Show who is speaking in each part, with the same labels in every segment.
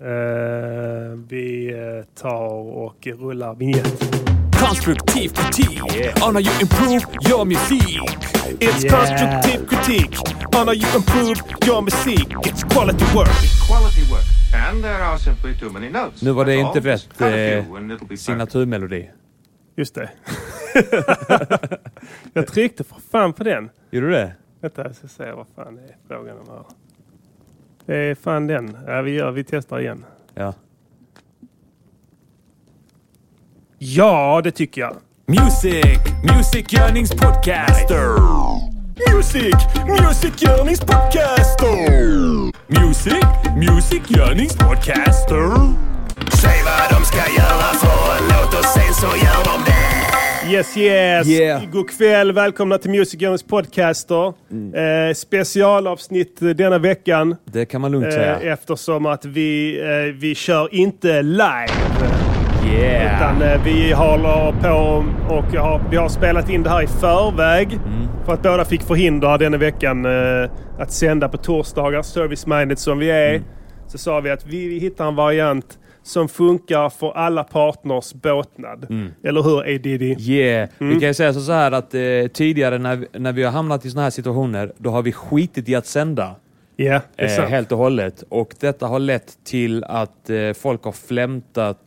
Speaker 1: Eh, vi eh, tar och rullar vinjett.
Speaker 2: Constructive critique on how you improve your music. It's
Speaker 1: Yeah.
Speaker 2: constructive critique on how you improve your music. It's quality work.
Speaker 3: quality work. And there are simply too many notes.
Speaker 4: Nu var det
Speaker 3: That's all.
Speaker 4: inte rätt
Speaker 3: Just cut a few and
Speaker 4: eh,
Speaker 3: it'll be perfect.
Speaker 4: signaturmelodi.
Speaker 1: Just det. jag tryckte för fan på den.
Speaker 4: Gjorde du det?
Speaker 1: Vänta, jag ska se vad fan det är frågan om här. Det är fan den. Ja, vi gör, vi testar igen.
Speaker 4: Ja.
Speaker 1: Ja, det tycker jag.
Speaker 2: Music, Music Yearnings Podcaster. Music, Music Yearnings Podcaster. Music, Music Yearnings Podcaster. Säg vad de ska göra för en låt och sen så gör de det.
Speaker 1: Yes, yes!
Speaker 4: Yeah.
Speaker 1: God kväll, välkomna till Music Journeys podcaster. Eh, specialavsnitt eh, denna veckan.
Speaker 4: Det kan man lugnt
Speaker 1: Eh,
Speaker 4: säga.
Speaker 1: eftersom att vi, eh, vi kör inte live.
Speaker 4: Yeah!
Speaker 1: Utan eh, vi håller på och har, vi har spelat in det här i förväg.
Speaker 4: Mm.
Speaker 1: För att båda fick förhindra denna veckan eh, att sända på torsdagar, service-minded som vi
Speaker 4: Mm.
Speaker 1: är. Så sa vi att vi hittar en variant som funkar för alla partners båtnad.
Speaker 4: Mm.
Speaker 1: Eller hur ADD?
Speaker 4: Yeah.
Speaker 1: Mm.
Speaker 4: Vi kan ju säga så så här att eh, tidigare när, vi- när vi har hamnat i såna här situationer, då har vi skitit i att sända.
Speaker 1: Ja, det är
Speaker 4: Eh,
Speaker 1: sant.
Speaker 4: helt och hållet. Och detta har lett till att eh, folk har flämtat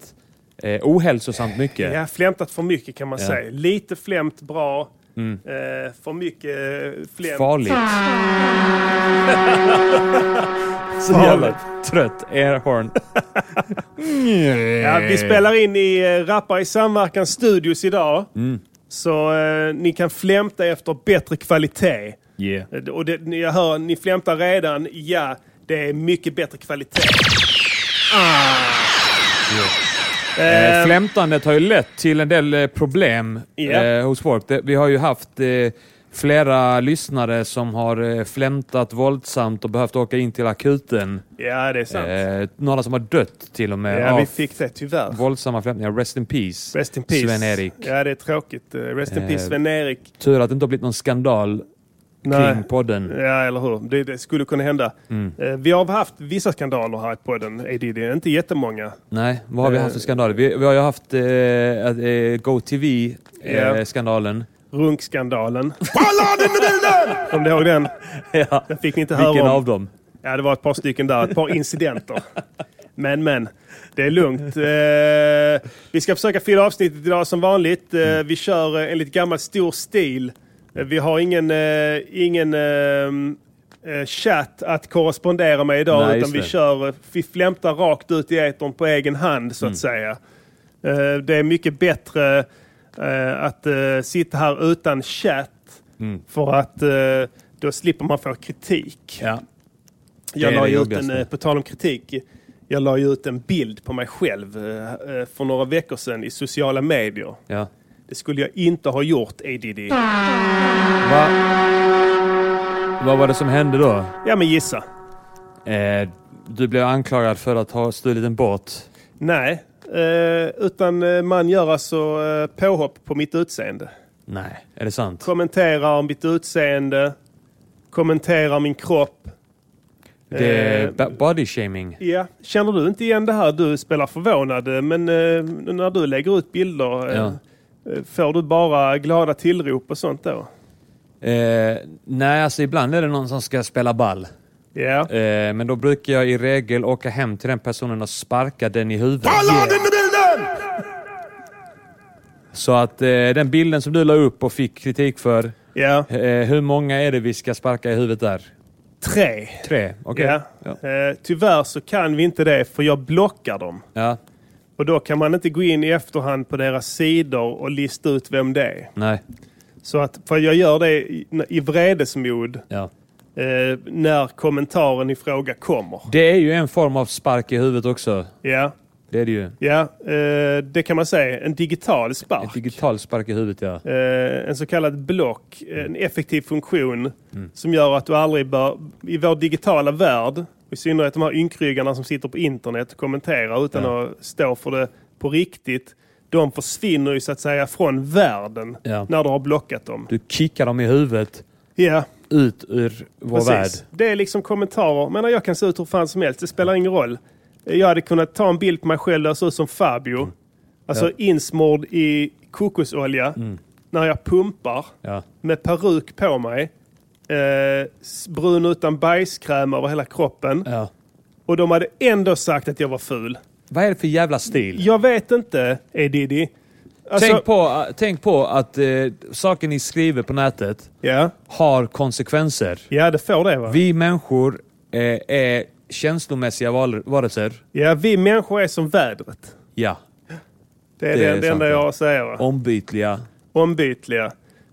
Speaker 4: eh, ohälsosamt mycket.
Speaker 1: Ja, flämtat för mycket kan man
Speaker 4: Ja. Mm.
Speaker 1: säga. Lite flämt bra, eh, för mycket eh, flämt.
Speaker 4: Farligt. Så jävla trött airhorn.
Speaker 1: Ja, vi spelar in i eh, Rappar i samverkan studios idag.
Speaker 4: Mm.
Speaker 1: Så eh, ni kan flämta efter bättre kvalitet.
Speaker 4: Yeah.
Speaker 1: Eh, Och det, ni- jag hör, ni flämtar redan. Ja, det är mycket bättre kvalitet. Ah.
Speaker 4: Eh, flämtandet har ju lett till en del eh, problem
Speaker 1: Ja.
Speaker 4: eh, hos folk. Det, vi har ju haft eh, flera lyssnare som har eh, flämtat våldsamt och behövt åka in till akuten.
Speaker 1: Ja, det är sant.
Speaker 4: Eh, några som har dött till och med.
Speaker 1: ja,
Speaker 4: av
Speaker 1: vi fick det tyvärr.
Speaker 4: Våldsamma flämtningar. Rest in peace,
Speaker 1: Rest in peace.
Speaker 4: Sven-Erik.
Speaker 1: Ja, det är tråkigt. Eh, Rest in
Speaker 4: Eh,
Speaker 1: peace, Sven-Erik.
Speaker 4: Tur att det inte har blivit någon skandal
Speaker 1: Nej.
Speaker 4: kring podden.
Speaker 1: Ja, eller hur. Det, det skulle kunna hända.
Speaker 4: Mm.
Speaker 1: Eh, Vi har haft vissa skandaler här i podden, ADD. Inte jättemånga.
Speaker 4: Nej, vad
Speaker 1: Eh.
Speaker 4: har vi haft för skandaler? Vi, vi har ju haft eh, eh,
Speaker 1: Ja.
Speaker 4: GoTV-skandalen.
Speaker 1: Runkskandalen. Kommer ni ihåg den?
Speaker 4: ja.
Speaker 1: Den fick ni inte höra
Speaker 4: Vilken
Speaker 1: om.
Speaker 4: av dem?
Speaker 1: Ja, det var ett par stycken där. Ett par incidenter. Men, men. Det är lugnt. Eh, vi ska försöka fylla avsnittet idag som vanligt. Eh,
Speaker 4: Mm.
Speaker 1: vi kör eh, enligt gammal stor stil. Eh, vi har ingen, eh, ingen eh, eh, chatt att korrespondera med idag.
Speaker 4: Nej,
Speaker 1: utan
Speaker 4: just
Speaker 1: vi
Speaker 4: det.
Speaker 1: kör, eh, vi flämtar rakt ut i etern på egen hand
Speaker 4: Mm.
Speaker 1: så att säga. Eh, det är mycket bättre eh, att eh, sitta här utan chatt. För att eh, då slipper man få kritik.
Speaker 4: Ja.
Speaker 1: Jag
Speaker 4: Det är
Speaker 1: la
Speaker 4: det
Speaker 1: ju ut en,
Speaker 4: jobbigaste.
Speaker 1: eh, på tal om kritik, jag la ju ut en bild på mig själv eh, eh, för några veckor sedan i sociala medier.
Speaker 4: ja.
Speaker 1: Det skulle jag inte ha gjort ADD.
Speaker 4: Va? Vad var det som hände då?
Speaker 1: Ja men gissa.
Speaker 4: Eh, du blev anklagad för att ha stulit en båt.
Speaker 1: Nej, eh, utan eh, man gör alltså eh, påhopp på mitt utseende.
Speaker 4: Nej, är det sant?
Speaker 1: Eh, Kommenterar om mitt utseende, kommenterar min kropp.
Speaker 4: Det
Speaker 1: Eh,
Speaker 4: är ba- body shaming.
Speaker 1: Ja, känner du inte igen det här? Du spelar förvånad, eh, men eh, när du lägger ut bilder, eh,
Speaker 4: Ja.
Speaker 1: eh, får du bara glada tillrop och sånt då?
Speaker 4: Eh, nej, alltså ibland är det någon som ska spela ball.
Speaker 1: Ja.
Speaker 4: Eh, men då brukar jag i regel åka hem till den personen och sparka den i huvudet. Så att eh, den bilden som du la upp och fick kritik för.
Speaker 1: Ja,
Speaker 4: Eh, hur många är det vi ska sparka i huvudet där?
Speaker 1: tre.
Speaker 4: Tre? Okej.
Speaker 1: Ja.
Speaker 4: Ja.
Speaker 1: Eh, tyvärr så kan vi inte det för jag blockar dem.
Speaker 4: ja.
Speaker 1: Och då kan man inte gå in i efterhand på deras sidor och lista ut vem det är.
Speaker 4: Nej.
Speaker 1: Så att, för jag gör det i, i vredesmod
Speaker 4: Ja.
Speaker 1: eh, när kommentaren i fråga kommer.
Speaker 4: Det är ju en form av spark i huvudet också.
Speaker 1: Ja,
Speaker 4: Det är det ju.
Speaker 1: ja eh, det kan man säga. En digital
Speaker 4: Ett
Speaker 1: spark.
Speaker 4: digital spark i huvudet, ja.
Speaker 1: Eh, en så kallad block,
Speaker 4: Mm.
Speaker 1: en effektiv funktion som gör att du aldrig bör, i vår digitala värld, i synnerhet de här ynkryggarna som sitter på internet och kommenterar utan
Speaker 4: Ja.
Speaker 1: att stå för det på riktigt, de försvinner ju så att säga från världen
Speaker 4: Ja.
Speaker 1: när du har blockat dem.
Speaker 4: Du kickar dem i huvudet
Speaker 1: Ja,
Speaker 4: ut ur vår
Speaker 1: precis.
Speaker 4: värld.
Speaker 1: Det är liksom kommentarer. Men jag kan se ut hur fan som helst, det spelar ingen roll. Jag hade kunnat ta en bild på mig själv där jag såg ut som Fabio.
Speaker 4: Mm.
Speaker 1: Alltså insmord i kokosolja när jag pumpar
Speaker 4: Mm. Ja.
Speaker 1: med peruk på mig. Eh, s- brun utan bajskräm över hela kroppen.
Speaker 4: ja.
Speaker 1: Och de hade ändå sagt att jag var ful.
Speaker 4: Vad är det för jävla stil?
Speaker 1: Jag vet inte, Edidi. Alltså,
Speaker 4: tänk, på, äh, tänk på att eh, saker ni skriver på nätet
Speaker 1: Ja.
Speaker 4: har konsekvenser.
Speaker 1: ja, det får det va?
Speaker 4: Vi människor eh, är känslomässiga val- varelser.
Speaker 1: ja, vi människor är som vädret.
Speaker 4: Ja.
Speaker 1: Det är
Speaker 4: Det
Speaker 1: det, det
Speaker 4: är sant,
Speaker 1: enda
Speaker 4: ja.
Speaker 1: jag har att säga. Va?
Speaker 4: Ombytliga.
Speaker 1: Ombytliga. Eh,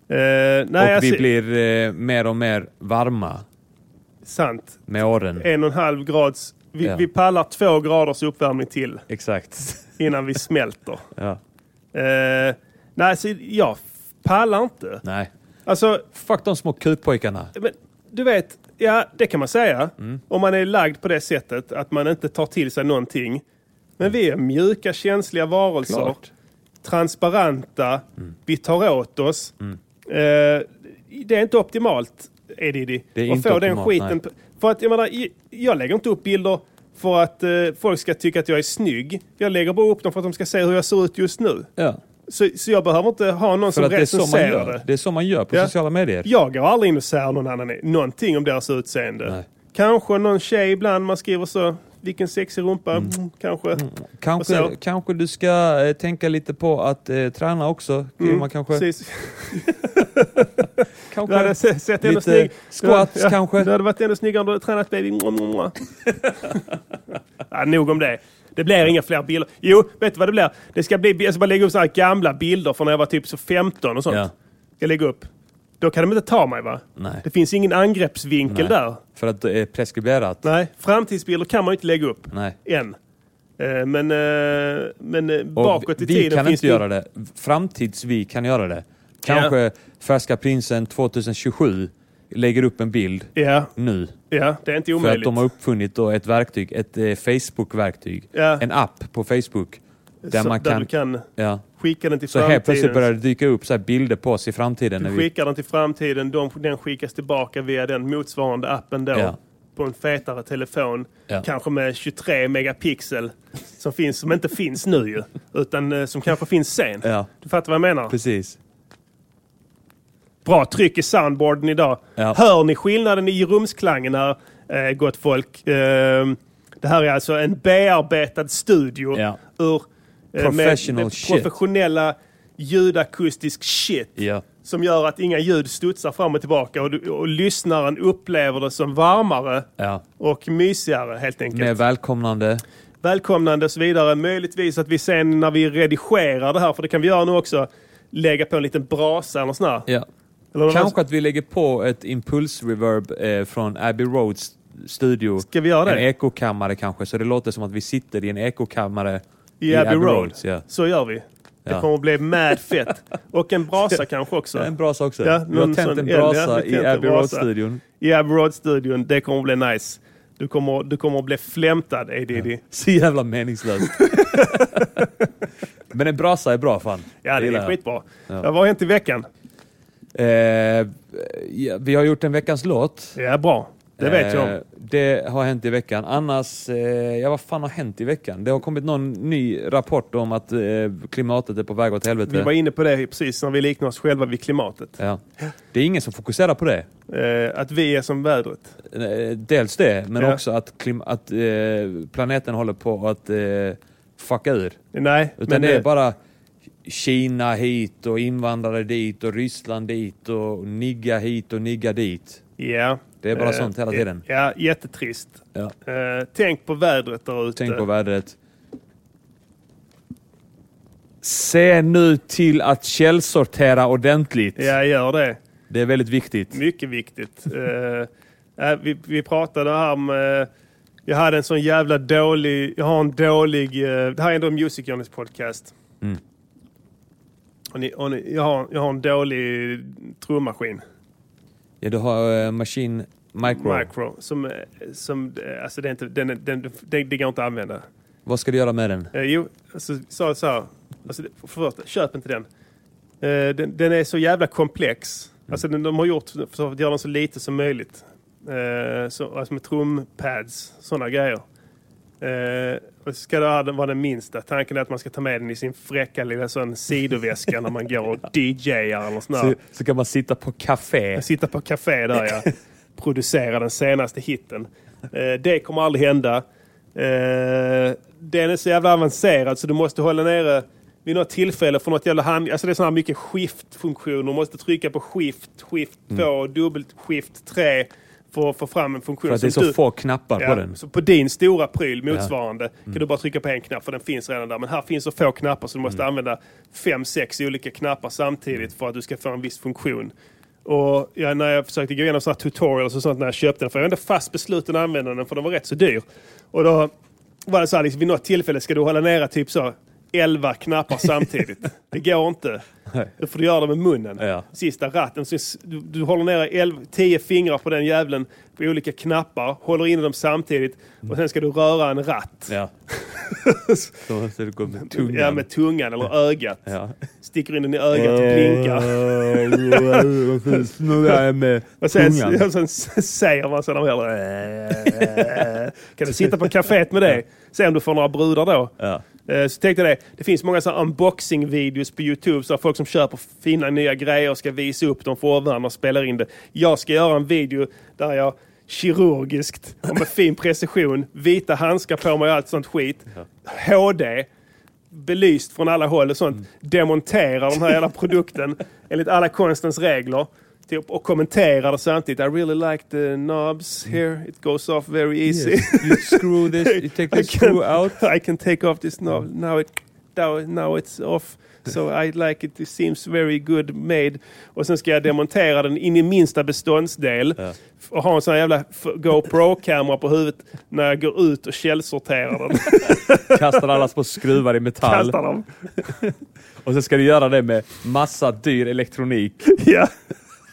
Speaker 1: nej,
Speaker 4: och vi
Speaker 1: alltså,
Speaker 4: blir eh, mer och mer varma
Speaker 1: Sant.
Speaker 4: med åren.
Speaker 1: En och en halv grads... Vi,
Speaker 4: Ja.
Speaker 1: vi pallar två graders uppvärmning till
Speaker 4: Exakt.
Speaker 1: innan vi smälter.
Speaker 4: Ja.
Speaker 1: Eh, nej, så jag pallar inte.
Speaker 4: Nej.
Speaker 1: Alltså,
Speaker 4: Fuck de små kukpojkarna.
Speaker 1: men, du vet, ja det kan man säga.
Speaker 4: Mm.
Speaker 1: Om man är lagd på det sättet att man inte tar till sig någonting. Men vi är mjuka, känsliga varelser.
Speaker 4: Klart. Mm.
Speaker 1: Transparenta. Vi tar åt oss. Eh, det är inte optimalt, Edidi.
Speaker 4: Det är
Speaker 1: att
Speaker 4: inte
Speaker 1: få den
Speaker 4: optimalt,
Speaker 1: skiten. på- För att jag menar, i- jag lägger inte upp bilder för att eh, folk ska tycka att jag är snygg. Jag lägger bara upp dem för att de ska se hur jag ser ut just nu.
Speaker 4: Ja.
Speaker 1: Så, så jag behöver inte ha någon
Speaker 4: För
Speaker 1: som
Speaker 4: att det är så man
Speaker 1: recenserar
Speaker 4: gör.
Speaker 1: det.
Speaker 4: Det är så man gör på
Speaker 1: Ja.
Speaker 4: sociala medier.
Speaker 1: Jag går aldrig in och säger någon annan någonting om deras utseende.
Speaker 4: Nej.
Speaker 1: Kanske någon tjej ibland man skriver så. Vilken sexig rumpa. Mm, kanske. Och
Speaker 4: Kanske,
Speaker 1: så.
Speaker 4: kanske du ska eh, tänka lite på att eh, träna också. Gud, man kanske,
Speaker 1: Mm, Precis. Du
Speaker 4: kanske
Speaker 1: hade se- sett ändå
Speaker 4: lite
Speaker 1: snygg.
Speaker 4: squats
Speaker 1: du, hade-
Speaker 4: kanske.
Speaker 1: Du hade varit ännu snyggare om du hade tränat baby. Mwah, mwah, mwah. ja, nog om det. Det blir inga fler bilder. Jo, vet du vad det blir? Det ska bli, jag ska bara lägga upp så här gamla bilder från när jag var typ så 15 och sånt.
Speaker 4: Ja.
Speaker 1: Jag lägger upp. Då kan de inte ta mig va?
Speaker 4: Nej.
Speaker 1: Det finns ingen angreppsvinkel
Speaker 4: Nej.
Speaker 1: där.
Speaker 4: För att det är preskriberat.
Speaker 1: Nej, framtidsbilder kan man ju inte lägga upp.
Speaker 4: Nej.
Speaker 1: Än. Eh, Men, eh, men eh,
Speaker 4: Och
Speaker 1: bakåt i
Speaker 4: vi
Speaker 1: tiden
Speaker 4: kan
Speaker 1: finns
Speaker 4: inte göra det. Framtids vi kan göra det. Kanske Färska Prinsen 2027 lägger upp en bild
Speaker 1: Ja,
Speaker 4: nu.
Speaker 1: ja, det är inte
Speaker 4: För att
Speaker 1: omöjligt.
Speaker 4: de har uppfunnit då ett verktyg, ett eh, Facebook-verktyg.
Speaker 1: Ja.
Speaker 4: En app på Facebook. Där
Speaker 1: så,
Speaker 4: man
Speaker 1: där
Speaker 4: kan...
Speaker 1: du kan
Speaker 4: Ja.
Speaker 1: skicka den till
Speaker 4: Så
Speaker 1: framtiden.
Speaker 4: helt plötsligt börjar det dyka upp så här bilder på oss i framtiden.
Speaker 1: Du
Speaker 4: När vi,
Speaker 1: skickar den till framtiden, de, den skickas tillbaka via den motsvarande appen då.
Speaker 4: Ja.
Speaker 1: På en fetare telefon.
Speaker 4: Ja.
Speaker 1: Kanske med 23 megapixel. Som, finns, som inte finns nu ju. Utan eh, som kanske finns sen.
Speaker 4: ja,
Speaker 1: Du fattar vad jag menar?
Speaker 4: precis.
Speaker 1: Bra tryck i soundboarden idag.
Speaker 4: Ja.
Speaker 1: Hör ni skillnaden i rumsklangen här, eh, gott folk? Eh, det här är alltså en bearbetad studio
Speaker 4: Ja.
Speaker 1: ur eh,
Speaker 4: Professional
Speaker 1: med, med
Speaker 4: shit.
Speaker 1: professionella ljudakustisk shit.
Speaker 4: Ja.
Speaker 1: Som gör att inga ljud studsar fram och tillbaka och, du, och lyssnaren upplever det som varmare
Speaker 4: Ja.
Speaker 1: och mysigare helt enkelt.
Speaker 4: Mer välkomnande.
Speaker 1: Välkomnande och så vidare. Möjligtvis att vi sen när vi redigerar det här, för det kan vi göra nu också, lägga på en liten brasa eller sån här.
Speaker 4: Ja.
Speaker 1: Eller någon-
Speaker 4: Kanske att vi lägger på ett impulsreverb eh, från Abbey Roads studio.
Speaker 1: Ska vi göra det?
Speaker 4: En ekokammare kanske, så det låter som att vi sitter i en ekokammare
Speaker 1: I Abbey Road.
Speaker 4: ja.
Speaker 1: Så gör vi. Det
Speaker 4: Ja.
Speaker 1: kommer att bli mad fett. Och en brasa kanske också.
Speaker 4: En brasa också.
Speaker 1: Ja,
Speaker 4: vi har
Speaker 1: någon
Speaker 4: tänt
Speaker 1: sån
Speaker 4: en
Speaker 1: eld, ja, vi
Speaker 4: brasa
Speaker 1: har tänt
Speaker 4: i
Speaker 1: en
Speaker 4: Abbey
Speaker 1: brasa.
Speaker 4: Road-studion.
Speaker 1: I Abbey Road-studion. Det kommer att bli nice. Du kommer, du kommer att bli flämtad, ADD. Ja,
Speaker 4: Så jävla meningslöst. Men en brasa är bra fan.
Speaker 1: ja det
Speaker 4: Gillar
Speaker 1: är
Speaker 4: jag.
Speaker 1: skitbra. Ja. Vad har hänt i veckan?
Speaker 4: Eh, ja, vi har gjort en veckans låt.
Speaker 1: Det är bra. Det vet jag
Speaker 4: Eh,
Speaker 1: om.
Speaker 4: Det har hänt i veckan. Annars, eh, ja vad fan har hänt i veckan? Det har kommit någon ny rapport om att eh, klimatet är på väg åt helvete.
Speaker 1: Vi var inne på det precis när vi liknar oss själva vid klimatet.
Speaker 4: Ja. Det är ingen som fokuserar på det.
Speaker 1: Eh, att vi är som vädret.
Speaker 4: Eh, Dels det, men
Speaker 1: Ja.
Speaker 4: också att, klim- att eh, planeten håller på att eh, fucka ur.
Speaker 1: Nej,
Speaker 4: Utan
Speaker 1: men
Speaker 4: det är
Speaker 1: eh,
Speaker 4: bara Kina hit och invandrare dit och Ryssland dit och nigga hit och nigga dit.
Speaker 1: ja.
Speaker 4: Det är bara
Speaker 1: Eh,
Speaker 4: sånt hela
Speaker 1: eh,
Speaker 4: tiden.
Speaker 1: Ja, jättetrist.
Speaker 4: Ja.
Speaker 1: Eh, tänk på vädret där ute.
Speaker 4: Tänk på vädret. Se nu till att källsortera ordentligt.
Speaker 1: Ja, gör det.
Speaker 4: Det är väldigt viktigt.
Speaker 1: Mycket viktigt. Eh, eh, vi, vi pratade här om... eh, jag hade en sån jävla dålig... Jag har en dålig... eh, det här är ändå Music Journeys podcast.
Speaker 4: Mm.
Speaker 1: Och ni, och ni, jag, har, jag har en dålig trummaskin,
Speaker 4: Ja, du har eh, Machine Micro.
Speaker 1: Micro, som... eh, som eh, alltså det, är inte, den, är- den, den, det går inte att använda.
Speaker 4: Vad ska du göra med den?
Speaker 1: Eh, jo, alltså, så, så här. Alltså, det- för det första, köp inte den. Eh, den. Den är så jävla komplex. Alltså, den, de har gjort för att göra den så lite som möjligt. Eh, så, alltså med trumpads, sådana grejer. Eh, och ska det här vara den minsta? Tanken är att man ska ta med den i sin fräcka lilla sån sidoväska när man går och DJar eller sånt
Speaker 4: Så,
Speaker 1: där.
Speaker 4: så kan man sitta på café.
Speaker 1: Sitta på café där jag producerar den senaste hitten. Eh, det kommer aldrig hända. Eh, den är så jävla avancerad så du måste hålla nere vid något tillfälle för något jävla hand... Alltså det är så här mycket skiftfunktioner. Du måste trycka på skift, skift 2, dubbelt skift 3 för att få fram en funktion.
Speaker 4: För att det är
Speaker 1: som
Speaker 4: så
Speaker 1: du-
Speaker 4: få knappar på den. Mm.
Speaker 1: så på din stora pryl motsvarande kan du bara trycka på en knapp för den finns redan där. Men här finns så få knappar så du måste
Speaker 4: Mm.
Speaker 1: använda fem, sex olika knappar samtidigt för att du ska få en viss funktion. Och ja, när jag försökte gå igenom sådana här tutorials och sånt när jag köpte den, för jag var inte fast besluten att använda den för den var rätt så dyr. Och då var det så här, liksom, vid något tillfälle ska du hålla nära typ så 11 knappar samtidigt. det går inte. Då får du göra det med munnen.
Speaker 4: Ja.
Speaker 1: Sista ratten. Så s- du, du håller nere 11 10 fingrar på den jävlen på olika knappar. Håller in dem samtidigt. Och sen ska du röra en ratt.
Speaker 4: Ja. Så måste du gå med tungan.
Speaker 1: Ja, med tungan eller ögat.
Speaker 4: Ja. Eh.
Speaker 1: Sticker in den i ögat och blinkar.
Speaker 4: Snurrar jag med
Speaker 1: Och sen,
Speaker 4: tungan.
Speaker 1: och sen s- säger man "Äh, så när man hör det. äh, Kan du sitta på kaféet med det? Se om du får några brudar då.
Speaker 4: Ja.
Speaker 1: Eh, Så tänkte jag det, det finns många så här unboxing-videos på YouTube, så här folk som köper fina nya grejer och ska visa upp dem för omvärlden och spelar in det. Jag ska göra en video där jag kirurgiskt och med fin precision, vita handskar på mig och allt sånt skit, HD, belyst från alla håll och sånt, demonterar den här jävla produkten enligt alla konstens regler. Typ, och kommenterar det samtidigt. I really like the knobs here. It goes off very easy.
Speaker 4: You screw this, you take
Speaker 1: I
Speaker 4: the screw
Speaker 1: can-
Speaker 4: out.
Speaker 1: I can take off this now. Now it now, now it's off. So I like it. It seems very good made. Och sen ska jag demontera den in i minsta beståndsdel. F- Och ha en sån här jävla f- GoPro-kamera på huvudet när jag går ut och källsorterar den.
Speaker 4: Kastar alla små skruvar i metall.
Speaker 1: Kastar dem.
Speaker 4: Och sen ska du göra det med massa dyr elektronik.
Speaker 1: Ja,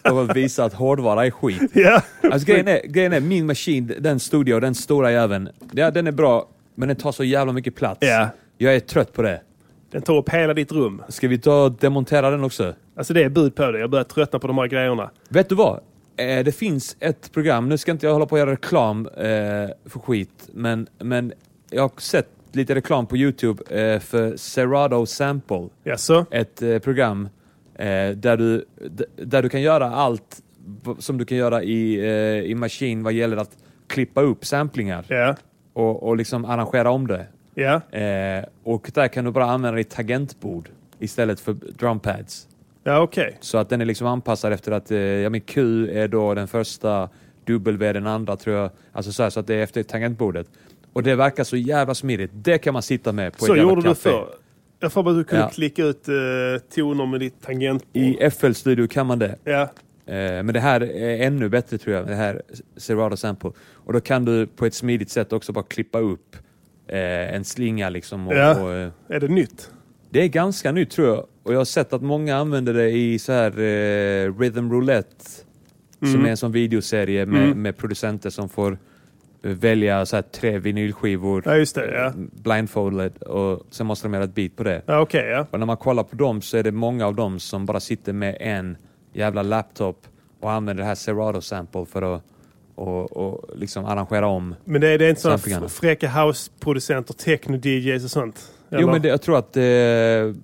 Speaker 4: För att visa att hårdvara är skit.
Speaker 1: ja.
Speaker 4: Alltså grejen är, grejen är min maskin, den studio, den stora jäveln. Ja, den är bra, men den tar så jävla mycket plats.
Speaker 1: Ja.
Speaker 4: Jag är trött på det.
Speaker 1: Den tar upp hela ditt rum.
Speaker 4: Ska vi ta och demontera den också?
Speaker 1: Alltså det är bud på det. Jag börjar tröttna på de här grejerna.
Speaker 4: Vet du vad? Eh, det finns ett program, nu ska inte jag hålla på och göra reklam eh, för skit, men, men jag har sett lite reklam på YouTube eh, för Serato Sample.
Speaker 1: Jaså?
Speaker 4: Ett eh, program eh, där, du, d- där du kan göra allt v- som du kan göra i, eh, i maskin vad gäller att klippa upp samplingar
Speaker 1: Ja.
Speaker 4: och, och liksom arrangera om det.
Speaker 1: Ja.
Speaker 4: Eh, och där kan du bara använda ditt tangentbord istället för drumpads.
Speaker 1: Ja, okej.
Speaker 4: Så att den är liksom anpassad efter att eh, ja, men Q är då den första, W är den andra tror jag. Alltså så, här, så att det är efter tangentbordet. Och det verkar så jävla smidigt. Det kan man sitta med på
Speaker 1: Så
Speaker 4: ett jävla
Speaker 1: gjorde du
Speaker 4: café.
Speaker 1: förr. Jag får bara att du kunde
Speaker 4: Ja.
Speaker 1: klicka ut eh, toner med ditt tangentbord.
Speaker 4: I FL Studio kan man det.
Speaker 1: Ja.
Speaker 4: Eh, men det här är ännu bättre tror jag, det här Serato Sample. Och då kan du på ett smidigt sätt också bara klippa upp eh, en slinga liksom. Och,
Speaker 1: Ja.
Speaker 4: och, eh,
Speaker 1: Är det nytt?
Speaker 4: det är ganska nytt tror jag. Och jag har sett att många använder det i så här eh, Rhythm Roulette.
Speaker 1: Mm.
Speaker 4: Som är en sån videoserie med, med producenter som får eh, välja så här tre vinylskivor
Speaker 1: Ja, just det. Ja,
Speaker 4: eh, blindfolded och sen måste de göra ett beat på det.
Speaker 1: ja okej. ja.
Speaker 4: Och när man kollar på dem så är det många av dem som bara sitter med en jävla laptop och använder det här Serato Sample för att och, och liksom arrangera om.
Speaker 1: Men det är, det är inte sådana
Speaker 4: Samplingarna.
Speaker 1: f- fräcka houseproducenter, techno-DJs och sånt?
Speaker 4: Jo,
Speaker 1: Eller?
Speaker 4: men det, jag, tror att, eh,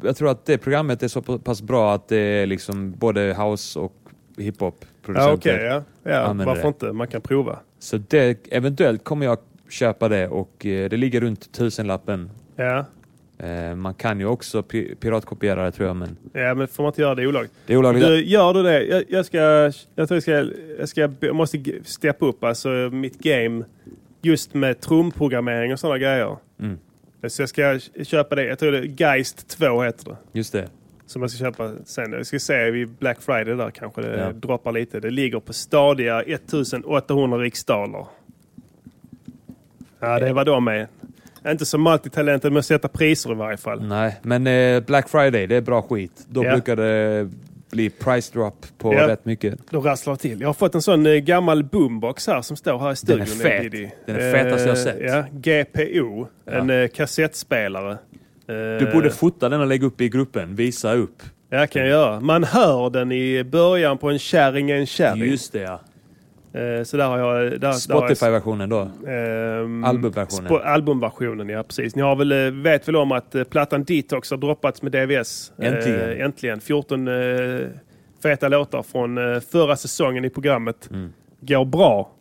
Speaker 4: jag tror att det programmet är så pa- pass bra att det är liksom både house och
Speaker 1: Ja,
Speaker 4: hiphop-producenter.
Speaker 1: okej. ja. Ja,
Speaker 4: typ använder
Speaker 1: varför
Speaker 4: det.
Speaker 1: inte? Man kan prova.
Speaker 4: Så det, eventuellt kommer jag köpa det och eh, det ligger runt tusenlappen.
Speaker 1: Ja.
Speaker 4: Eh, man kan ju också pi- piratkopiera det tror jag, men
Speaker 1: ja, men får man inte göra det olagligt?
Speaker 4: det är olagligt.
Speaker 1: Du, gör du det? Jag, jag, ska, jag tror jag ska... Jag, ska, jag måste g- steppa upp alltså, mitt game just med trumprogrammering och sådana grejer.
Speaker 4: Mm.
Speaker 1: Så jag ska köpa det. Jag tror det är Geist 2 heter det.
Speaker 4: Just det.
Speaker 1: Som jag ska köpa sen. Jag ska se vid Black Friday där kanske det
Speaker 4: Ja.
Speaker 1: droppar lite. Det ligger på stadiga 1800 riksdaler. Ja, det var de med. Inte så multitalented med att sätta priser i varje fall.
Speaker 4: Nej, men eh, Black Friday, det är bra skit. Då
Speaker 1: Ja.
Speaker 4: brukar det bli price drop på
Speaker 1: Ja.
Speaker 4: rätt mycket.
Speaker 1: De rasslar till. Jag har fått en sån eh, gammal boombox här som står här i studion.
Speaker 4: är fet.
Speaker 1: Diddy.
Speaker 4: Den är fetaste jag
Speaker 1: Eh,
Speaker 4: sett.
Speaker 1: Ja, GPO.
Speaker 4: Ja.
Speaker 1: En eh, kassettspelare. Eh,
Speaker 4: Du borde fota den och lägga upp i gruppen. Visa upp.
Speaker 1: Ja, kan jag göra. Man hör den i början på en kärring är en kärring.
Speaker 4: Just det ja.
Speaker 1: Eh, Så där har jag... Där, där har jag-
Speaker 4: Spotify-versionen då?
Speaker 1: Ehm,
Speaker 4: Albumversionen.
Speaker 1: spo- albumversionen, ja precis. Ni har väl, eh, vet väl om att eh, plattan Detox har droppats med DVS? Eh,
Speaker 4: Äntligen.
Speaker 1: äntligen. 14 eh, feta låtar från eh, förra säsongen i programmet
Speaker 4: Mm.
Speaker 1: går bra.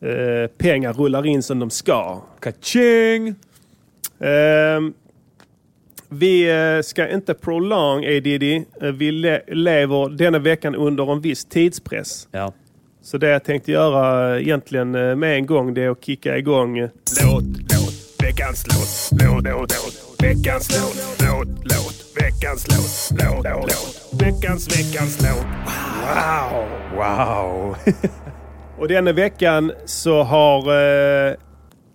Speaker 1: Eh, pengar rullar in som de ska.
Speaker 4: Kaching!
Speaker 1: Ehm, vi eh, ska inte prolong ADD. Eh, Vi le- lever denna veckan under en viss tidspress.
Speaker 4: Ja.
Speaker 1: Så det jag tänkte göra eh, egentligen eh, med en gång det är att kicka igång eh,
Speaker 2: Låt, låt, veckans låt, låt, låt, låt, veckans låt, låt, låt, veckans låt, låt, låt, låt, veckans, veckans låt.
Speaker 4: Wow!
Speaker 1: Och denna veckan så har eh,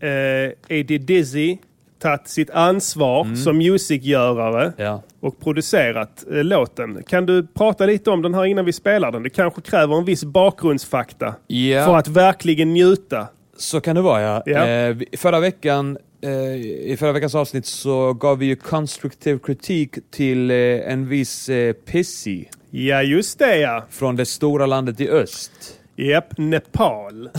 Speaker 1: eh, Eddie Dizzy tagit sitt ansvar som musikgörare
Speaker 4: Mm. ja.
Speaker 1: och producerat eh, låten. Kan du prata lite om den här innan vi spelar den? Det kanske kräver en viss bakgrundsfakta
Speaker 4: Ja.
Speaker 1: för att verkligen njuta.
Speaker 4: Så kan det vara ja.
Speaker 1: Ja.
Speaker 4: Eh, vi- förra veckan, eh, I förra veckans avsnitt så gav vi ju konstruktiv kritik till eh, en viss eh, Pissi
Speaker 1: Ja, just det ja.
Speaker 4: från det stora landet i öst.
Speaker 1: Japp, Nepal.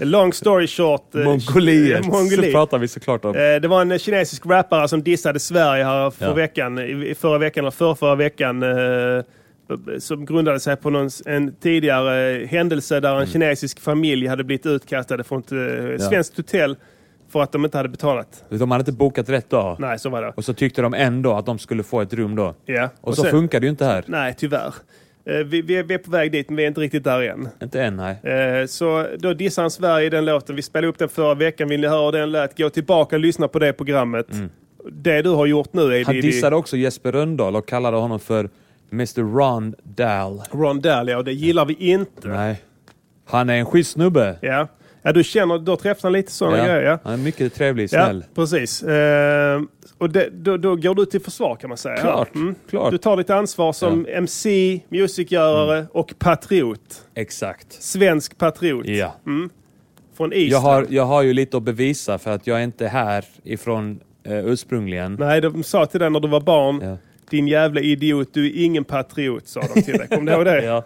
Speaker 1: Long story short. eh,
Speaker 4: Mongoliet. Så
Speaker 1: Mongoliet.
Speaker 4: pratar vi såklart om.
Speaker 1: Eh, Det var en kinesisk rappare som dissade Sverige här för
Speaker 4: Ja.
Speaker 1: veckan, i- i förra veckan eller förra, förra veckan. eh, Som grundade sig på någon, en tidigare händelse där en
Speaker 4: Mm.
Speaker 1: kinesisk familj hade blivit utkastade från ett eh, svenskt hotell för att de inte hade betalat.
Speaker 4: De hade inte bokat rätt dag.
Speaker 1: Nej, så var det.
Speaker 4: Och så tyckte de ändå att de skulle få ett rum då.
Speaker 1: Ja.
Speaker 4: Och, så funkar det ju inte här.
Speaker 1: Nej, tyvärr. Eh, Vi, vi, är, vi är på väg dit, men vi är inte riktigt där än.
Speaker 4: Inte än, nej.
Speaker 1: Eh, Så då dissar han Sverige i den låten. Vi spelade upp den förra veckan. Vill ni höra hur den lät? Gå tillbaka och lyssna på det programmet. Det du har gjort nu är
Speaker 4: Mm. Han
Speaker 1: det-
Speaker 4: dissade också Jesper Rönndahl och kallade honom för Mr Ron Dahl.
Speaker 1: Rondell, ja. Det gillar vi inte.
Speaker 4: Nej. Han är en schysst snubbe.
Speaker 1: Ja. ja, du känner, då träffar han lite sådana grejer. Ja,
Speaker 4: Han är mycket trevlig,
Speaker 1: ja
Speaker 4: snäll.
Speaker 1: precis. Ehm, och det, då, då går du till försvar kan man säga.
Speaker 4: Klart,
Speaker 1: Ja.
Speaker 4: klart. Mm.
Speaker 1: Du tar ditt ansvar som MC, musikgörare och patriot.
Speaker 4: Exakt.
Speaker 1: Svensk patriot
Speaker 4: Ja.
Speaker 1: från Island.
Speaker 4: Jag har, jag har ju lite att bevisa för att jag är inte här ifrån eh, ursprungligen.
Speaker 1: Nej, de sa till dig när du var barn.
Speaker 4: Ja.
Speaker 1: Din jävla idiot, du är ingen patriot, sa de till dig. Kommer du ihåg det?
Speaker 4: Ja.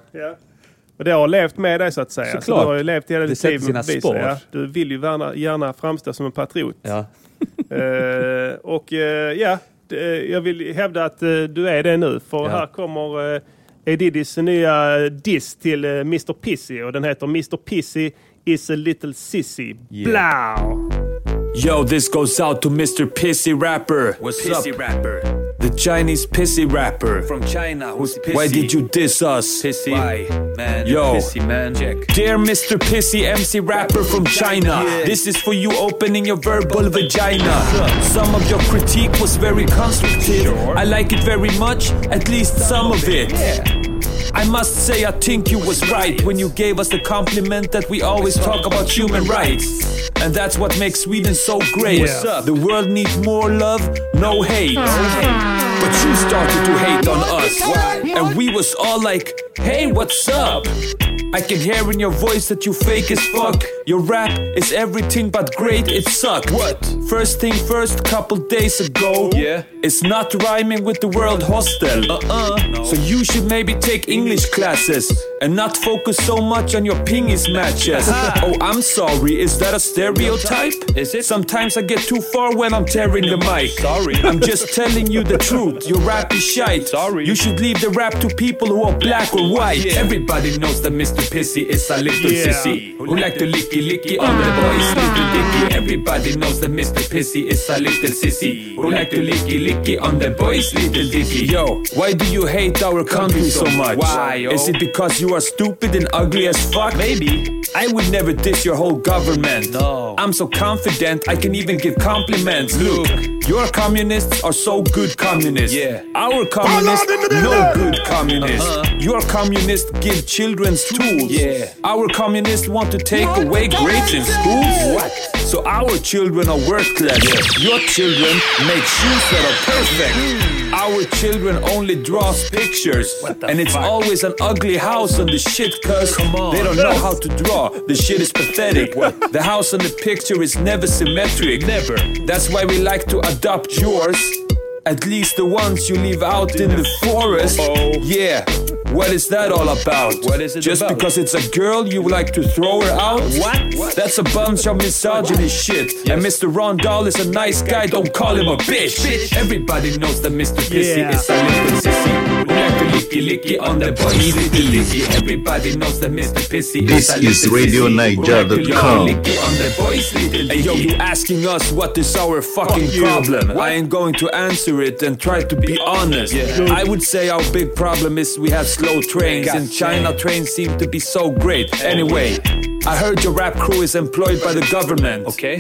Speaker 1: Och det har levt med dig så att säga. Så
Speaker 4: Såklart.
Speaker 1: du har ju levt hela
Speaker 4: Det
Speaker 1: ditt
Speaker 4: sätter
Speaker 1: liv med
Speaker 4: sina
Speaker 1: bevis.
Speaker 4: spår.
Speaker 1: Ja, du vill ju gärna, gärna framstå som en patriot.
Speaker 4: Ja.
Speaker 1: Eh, och eh, ja, d- eh, jag vill hävda att eh, du är det nu. För
Speaker 4: Ja.
Speaker 1: här kommer eh, Edidis nya eh, diss till eh, Mr Pissy. Och den heter Mr Pissy is a little sissy.
Speaker 4: Yeah.
Speaker 1: Blau!
Speaker 2: Yo, this goes out to Mr. Pissy Rapper.
Speaker 5: What's
Speaker 2: Pissy
Speaker 5: up?
Speaker 2: Rapper. The Chinese Pissy Rapper.
Speaker 5: from China who's pissy.
Speaker 2: Why did you diss us?
Speaker 5: pissy? Why, man?
Speaker 2: Yo.
Speaker 5: pissy man. Check.
Speaker 2: Dear Mr. Pissy MC rapper from China, this is for you opening your verbal vagina. Some of your critique was very constructive. I like it very much, at least some of it. I must say, I think you was right when you gave us the compliment that we always talk about human rights. And that's what makes Sweden so great. The world needs more love, no hate. But you started to hate on us. And we was all like, hey, what's up? I can hear in your voice that you fake as fuck. Your rap is everything but great, it sucked. What? First thing first, couple days ago.
Speaker 5: Yeah.
Speaker 2: It's not rhyming with the word hostel. Uh uh So you should maybe take English classes and not focus so much on your pingis matches. oh, I'm sorry, is that a stereotype?
Speaker 5: Is it?
Speaker 2: Sometimes I get too far when I'm tearing the mic.
Speaker 5: Sorry.
Speaker 2: I'm just telling you the truth. Your rap is shite.
Speaker 5: Sorry.
Speaker 2: You should leave the rap to people who are black or white.
Speaker 5: Everybody knows that Mr. Pissy is a little
Speaker 1: Yeah.
Speaker 5: sissy. Who like to licky licky on the boys, little dicky. Everybody knows that Mr. Pissy is a little sissy. Who like to licky licky on the boys, little dicky.
Speaker 2: Yo, why do you hate our country so much?
Speaker 5: Why, yo?
Speaker 2: Is it because you are stupid and ugly as fuck?
Speaker 5: Maybe.
Speaker 2: I would never diss your whole government.
Speaker 5: No.
Speaker 2: I'm so confident, I can even give compliments. Look, your communists are so good communists.
Speaker 5: Yeah. Uh-huh.
Speaker 2: Our communists, no good communists. Your communists give children's tools.
Speaker 5: Yeah.
Speaker 2: Our communists want to take away grades in schools. What? So our children are worthless. Your children make shoes that are perfect.
Speaker 5: Hmm.
Speaker 2: Our children only draws pictures.
Speaker 5: the
Speaker 2: And it's
Speaker 5: fuck?
Speaker 2: always an ugly house on the shit cuz
Speaker 5: Come on.
Speaker 2: they don't know how to draw. The shit is pathetic. the house on the picture is never symmetric.
Speaker 5: Never.
Speaker 2: That's why we like to adopt yours. At least the ones you leave out in the forest.
Speaker 5: Uh-oh.
Speaker 2: Yeah.
Speaker 5: What is that all about?
Speaker 4: What is it
Speaker 5: Just
Speaker 4: about?
Speaker 5: because it's a girl, you like to throw her out? What? That's a bunch of misogyny shit. And Mr. Ron Dahl is a nice guy, don't call him a bitch. Everybody knows that Mr. Pissy
Speaker 1: Yeah.
Speaker 5: is a little sissy. We like to licky licky on the boys, little licky. Everybody knows that Mr. Pissy
Speaker 6: This
Speaker 5: is a little
Speaker 6: is Radio
Speaker 5: sissy. We like to
Speaker 6: Niger.com.
Speaker 5: licky licky on the boys, little
Speaker 2: Hey, yo,
Speaker 5: licky.
Speaker 2: you asking us what is our fucking
Speaker 5: you.
Speaker 2: problem?
Speaker 5: What?
Speaker 2: I ain't going to answer it and try to be honest.
Speaker 5: Yeah.
Speaker 2: I would say our big problem is we have slow trains,
Speaker 5: God
Speaker 2: and China
Speaker 5: damn.
Speaker 2: trains seem to be so great. Anyway, I heard your rap crew is employed by the government.
Speaker 5: Okay.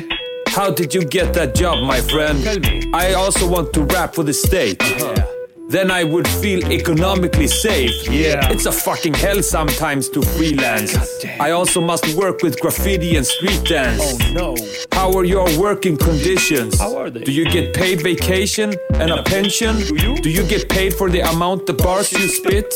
Speaker 2: How did you get that job, my friend?
Speaker 5: Tell me. Uh-huh.
Speaker 2: I also want to rap for the state. Then I would feel economically safe.
Speaker 1: Yeah.
Speaker 2: It's a fucking hell sometimes to freelance.
Speaker 5: Goddamn. Oh,
Speaker 2: I also must work with graffiti and street dance.
Speaker 5: no.
Speaker 2: How are your working conditions?
Speaker 5: How are they?
Speaker 2: Do you get paid vacation and a pension?
Speaker 5: Do you?
Speaker 2: Do you get paid for the amount the bars you spit?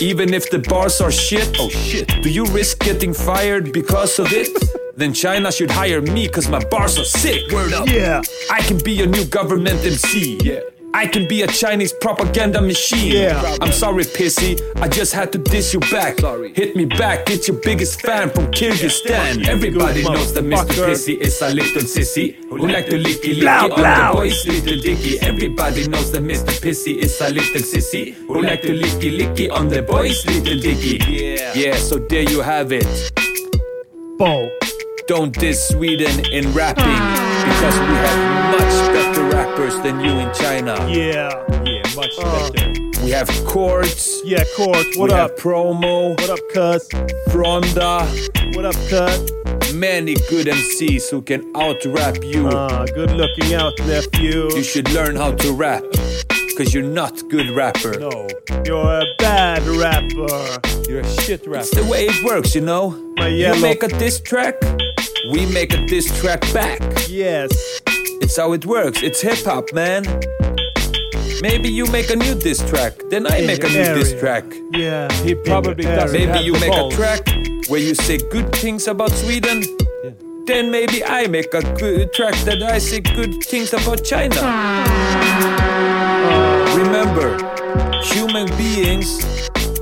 Speaker 2: Even if the bars are shit?
Speaker 5: Oh, shit.
Speaker 2: Do you risk getting fired because of it? then China should hire me cause my bars are sick. Word up.
Speaker 1: Yeah.
Speaker 2: I can be a new government MC.
Speaker 5: Yeah.
Speaker 2: I can be a Chinese propaganda machine.
Speaker 1: Yeah.
Speaker 2: I'm sorry, pissy. I just had to diss you back.
Speaker 5: Sorry.
Speaker 2: Hit me back. It's your biggest fan from Kyrgyzstan.
Speaker 5: Everybody
Speaker 1: Good
Speaker 5: knows that Mr.
Speaker 1: motherfucker.
Speaker 5: Pissy is a little sissy who like to licky licky
Speaker 1: Blow,
Speaker 5: on
Speaker 1: blow.
Speaker 5: the boys little dicky. Everybody knows that Mr. Pissy is a little sissy who like to licky licky on the boys little dicky.
Speaker 2: Yeah, so there you have it.
Speaker 1: Bow.
Speaker 2: Don't diss Sweden in rapping because we have much better rappers than you in China.
Speaker 1: Yeah. Oh,
Speaker 2: much better. We have Courts.
Speaker 1: Yeah, Court. What
Speaker 2: we
Speaker 1: up?
Speaker 2: have Promo,
Speaker 1: What up, cuz?
Speaker 2: Fronda,
Speaker 1: What up, cuz?
Speaker 2: many good MCs who can out rap you.
Speaker 1: Ah, good looking out, nephew.
Speaker 2: You should learn how to rap, cause you're not good rapper.
Speaker 1: No. Oh, You're a bad rapper.
Speaker 4: You're a shit
Speaker 2: It's the way it works, you know.
Speaker 1: My
Speaker 2: You
Speaker 1: yellow-
Speaker 2: make a diss track, we make a diss track back.
Speaker 1: Yes.
Speaker 2: It's how it works. It's hip hop, man. Maybe you make a new diss track, then I make a new
Speaker 1: area.
Speaker 2: diss track.
Speaker 1: Yeah.
Speaker 4: He probably
Speaker 1: Yeah.
Speaker 4: doesn't
Speaker 2: Maybe
Speaker 4: have
Speaker 2: you
Speaker 4: the
Speaker 2: make a
Speaker 4: balls.
Speaker 2: track where you say good things about Sweden. Then maybe I make a good track that I say good things about China. Remember, human beings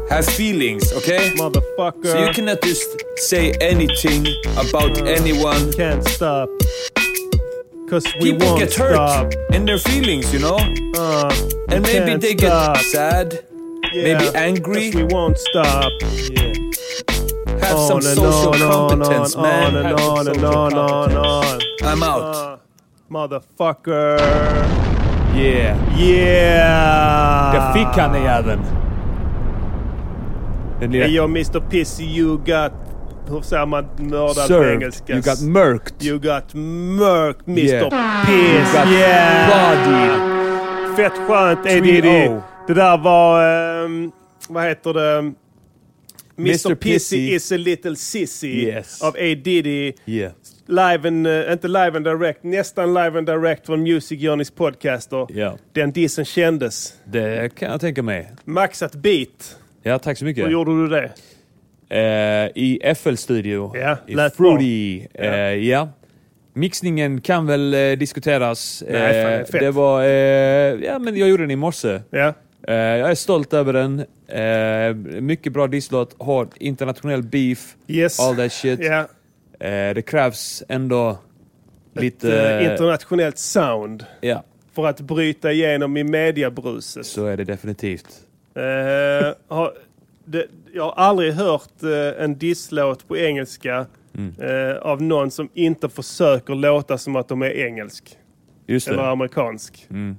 Speaker 2: have feelings, okay?
Speaker 1: Motherfucker.
Speaker 2: So you cannot just say anything about anyone.
Speaker 1: can't stop. Cause we
Speaker 2: People
Speaker 1: won't
Speaker 2: get hurt
Speaker 1: stop.
Speaker 2: in their feelings, you know?
Speaker 1: Uh,
Speaker 2: And
Speaker 1: we
Speaker 2: maybe
Speaker 1: can't
Speaker 2: they get
Speaker 1: stop.
Speaker 2: sad,
Speaker 1: Yeah.
Speaker 2: maybe angry.
Speaker 1: 'Cause we won't stop.
Speaker 2: have
Speaker 1: on
Speaker 2: some
Speaker 1: and
Speaker 2: social
Speaker 1: on,
Speaker 2: competence,
Speaker 1: on,
Speaker 2: man.
Speaker 1: on
Speaker 2: Have
Speaker 1: and
Speaker 2: some
Speaker 1: on and
Speaker 2: social
Speaker 1: on and on and
Speaker 2: competence.
Speaker 1: on.
Speaker 2: I'm out.
Speaker 1: Uh, motherfucker.
Speaker 4: Yeah.
Speaker 1: Yeah!
Speaker 4: Där fick han i jäveln. Den lilla...
Speaker 1: Hey yo Mr Pissy, you got... Hur säger man nördar på
Speaker 4: served.
Speaker 1: engelska?
Speaker 4: You got murked.
Speaker 1: You got mörkt Mr
Speaker 4: Yeah.
Speaker 1: Piss!
Speaker 4: got
Speaker 1: yeah!
Speaker 4: bodied.
Speaker 1: Fett skönt Edidi!
Speaker 4: 3-0.
Speaker 1: Det där var... ehm, vad heter det? Mr,
Speaker 4: Mr.
Speaker 1: Pissy,
Speaker 4: Pissy.
Speaker 1: is a little sissy
Speaker 4: Yes.
Speaker 1: av A. Diddy.
Speaker 4: Yeah.
Speaker 1: Live and, eh, inte live and direct, nästan live and direct från Music Journeys podcaster.
Speaker 4: Ja.
Speaker 1: Den dissen kändes.
Speaker 4: Det kan jag tänka mig.
Speaker 1: Maxat beat.
Speaker 4: Ja, tack så mycket.
Speaker 1: Hur gjorde du det?
Speaker 4: Eh, I FL Studio.
Speaker 1: Ja,
Speaker 4: I
Speaker 1: lät bra.
Speaker 4: Fruity. Eh, ja. Mixningen kan väl eh, diskuteras.
Speaker 1: Nej, fan,
Speaker 4: Eh,
Speaker 1: fett.
Speaker 4: det var... eh, ja, men jag gjorde den i morse.
Speaker 1: Ja.
Speaker 4: Eh, jag är stolt över den. Eh, mycket bra disslåt. Har internationell beef.
Speaker 1: Yes.
Speaker 4: All that shit.
Speaker 1: Ja.
Speaker 4: Eh, det krävs ändå lite...
Speaker 1: Eh, internationellt sound
Speaker 4: ja,
Speaker 1: för att bryta igenom i mediabruset.
Speaker 4: så är det definitivt.
Speaker 1: Eh, har, det, jag har aldrig hört eh, en disslåt på engelska
Speaker 4: Mm.
Speaker 1: eh, av någon som inte försöker låta som att de är engelsk
Speaker 4: Just
Speaker 1: eller
Speaker 4: det.
Speaker 1: amerikansk.
Speaker 4: Mm.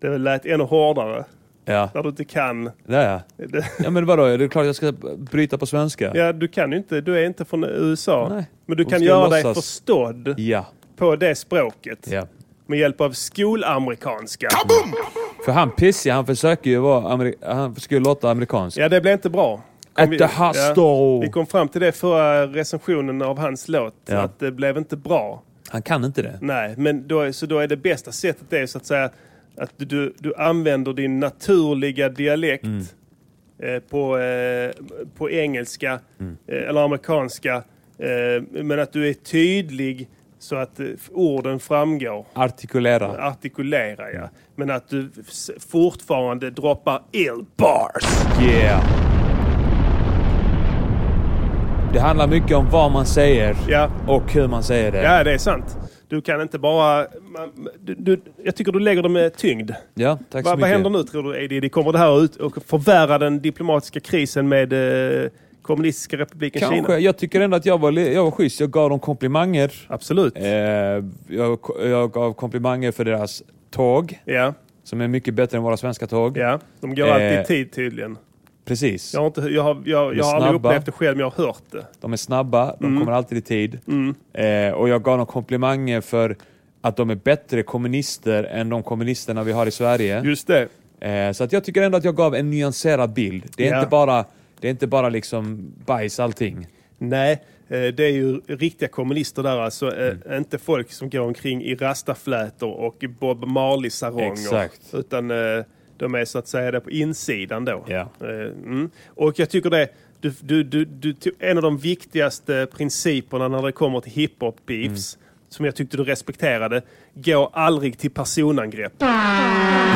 Speaker 1: Det lät ännu hårdare
Speaker 4: Ja,
Speaker 1: när du inte kan.
Speaker 4: det är jag.
Speaker 1: Det,
Speaker 4: Ja men vadå, är det klart jag ska bryta på svenska?
Speaker 1: ja, du kan ju inte, du är inte från USA.
Speaker 4: Nej.
Speaker 1: Men du
Speaker 4: Och
Speaker 1: kan
Speaker 4: ska
Speaker 1: göra dig
Speaker 4: låtsas.
Speaker 1: förstådd
Speaker 4: Ja.
Speaker 1: på det språket
Speaker 4: ja.
Speaker 1: med hjälp av skolamerikanska.
Speaker 4: För han pissig, han försöker ju vara amerik- han försöker låta amerikansk.
Speaker 1: Ja, det blev inte bra.
Speaker 4: At
Speaker 1: vi-
Speaker 4: the hostel.
Speaker 1: Vi kom fram till det förra recensionen av hans låt,
Speaker 4: Ja.
Speaker 1: att det blev inte bra.
Speaker 4: Han kan inte det.
Speaker 1: Nej, men då, är- så då är det bästa sättet det är så att säga att du, du använder din naturliga dialekt eh, på, eh, på engelska eh, eller amerikanska. Eh, men att du är tydlig Så att eh, orden framgår.
Speaker 4: Artikulera.
Speaker 1: Artikulera, ja. Men att du s- fortfarande droppar ill-bars.
Speaker 4: Yeah. Det handlar mycket om vad man säger
Speaker 1: Ja.
Speaker 4: och hur man säger det.
Speaker 1: ja, det är sant. Du kan inte bara... man- Du, du, jag tycker du lägger dem med tyngd.
Speaker 4: Ja, tack så
Speaker 1: Vad,
Speaker 4: mycket.
Speaker 1: vad händer nu tror du, Edie? Det Kommer det här ut och förvärra den diplomatiska krisen med eh, kommunistiska republiken
Speaker 4: Kanske.
Speaker 1: Kina?
Speaker 4: Jag tycker ändå att jag var, li- jag var schysst. Jag gav dem komplimanger.
Speaker 1: Absolut.
Speaker 4: Eh, jag, jag gav komplimanger för deras tåg,
Speaker 1: Ja,
Speaker 4: som är mycket bättre än våra svenska tåg.
Speaker 1: ja. De går
Speaker 4: Eh.
Speaker 1: alltid i tid tydligen.
Speaker 4: Precis.
Speaker 1: Jag har, inte, jag har, jag, jag har aldrig
Speaker 4: snabba.
Speaker 1: upplevt det själv, men jag har hört det.
Speaker 4: De är snabba,
Speaker 1: Mm.
Speaker 4: de kommer alltid i tid. Eh, och jag gav dem komplimanger för att de är bättre kommunister än de kommunisterna vi har i Sverige.
Speaker 1: Just det.
Speaker 4: Eh, så att jag tycker ändå att jag gav en nyanserad bild. Det är,
Speaker 1: Ja.
Speaker 4: inte, bara, det är inte bara liksom bajs allting.
Speaker 1: Nej, eh, det är ju riktiga kommunister där alltså. eh,
Speaker 4: Mm.
Speaker 1: Inte folk som går omkring i rastaflätor och Bob Marley-saronger.
Speaker 4: Exakt.
Speaker 1: Utan eh, de är så att säga där på insidan då.
Speaker 4: Ja.
Speaker 1: Eh, Mm. Och jag tycker det, du, du, du, du, tog- en av de viktigaste principerna när det kommer till hiphop-beefs,
Speaker 4: Mm.
Speaker 1: som jag tyckte du respekterade, gå aldrig till personangrepp.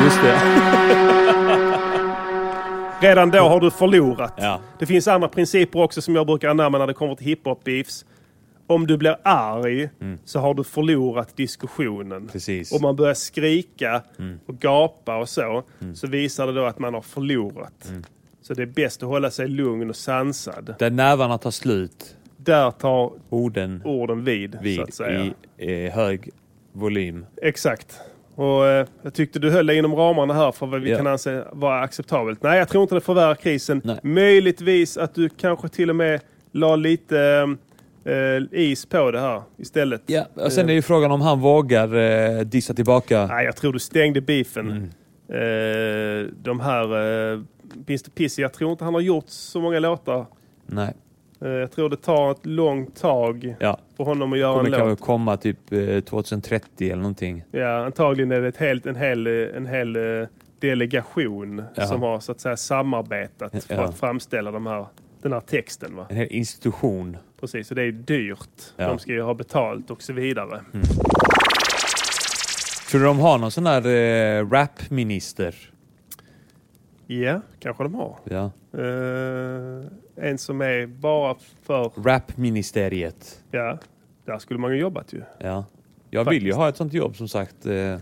Speaker 4: Just det.
Speaker 1: Redan då har du förlorat.
Speaker 4: Ja.
Speaker 1: Det finns andra principer också som jag brukar anamma när det kommer till hiphop-beefs. Om du blir arg så har du förlorat diskussionen.
Speaker 4: Mm. Precis. Mm.
Speaker 1: Om man börjar skrika och gapa och så, så visar det då att man har förlorat.
Speaker 4: Mm.
Speaker 1: Så det är bäst att hålla sig lugn och sansad.
Speaker 4: Där nävarna tar slut,
Speaker 1: Där tar
Speaker 4: orden
Speaker 1: orden vid, så
Speaker 4: vid
Speaker 1: att säga.
Speaker 4: i eh, hög volym.
Speaker 1: Exakt. Och eh, jag tyckte du höll dig inom ramarna här för vad vi
Speaker 4: Ja.
Speaker 1: kan anse vara acceptabelt. Nej, jag tror inte det förvärrar krisen.
Speaker 4: Nej.
Speaker 1: Möjligtvis att du kanske till och med la lite eh, is på det här istället.
Speaker 4: Ja. Och sen är ju frågan om han vågar eh, dissa tillbaka.
Speaker 1: Nej, jag tror du stängde beefen.
Speaker 4: Mm.
Speaker 1: Eh, de här... Eh, Mr Pissy, jag tror inte han har gjort så många låtar.
Speaker 4: Nej.
Speaker 1: Eh, jag tror det tar ett långt tag
Speaker 4: Ja.
Speaker 1: för honom att göra
Speaker 4: Kommer
Speaker 1: en låt.
Speaker 4: kanske komma typ eh, 2030 eller någonting.
Speaker 1: Ja, antagligen är det ett helt, en hel, en hel eh, delegation
Speaker 4: Ja.
Speaker 1: som har så att säga samarbetat för
Speaker 4: Ja.
Speaker 1: att framställa de här, den här texten. Va?
Speaker 4: En hel institution.
Speaker 1: Precis, så det är ju dyrt.
Speaker 4: Ja. Mm.
Speaker 1: De ska ju ha betalt och så vidare.
Speaker 4: Tror du de har någon sån här eh, rapminister?
Speaker 1: Ja, kanske de har.
Speaker 4: Ja.
Speaker 1: Eh, en som är bara för...
Speaker 4: Rapministeriet.
Speaker 1: Ja, där skulle man ju jobbat ju.
Speaker 4: Ja. Jag vill ju ha ett sånt jobb som sagt. Eh,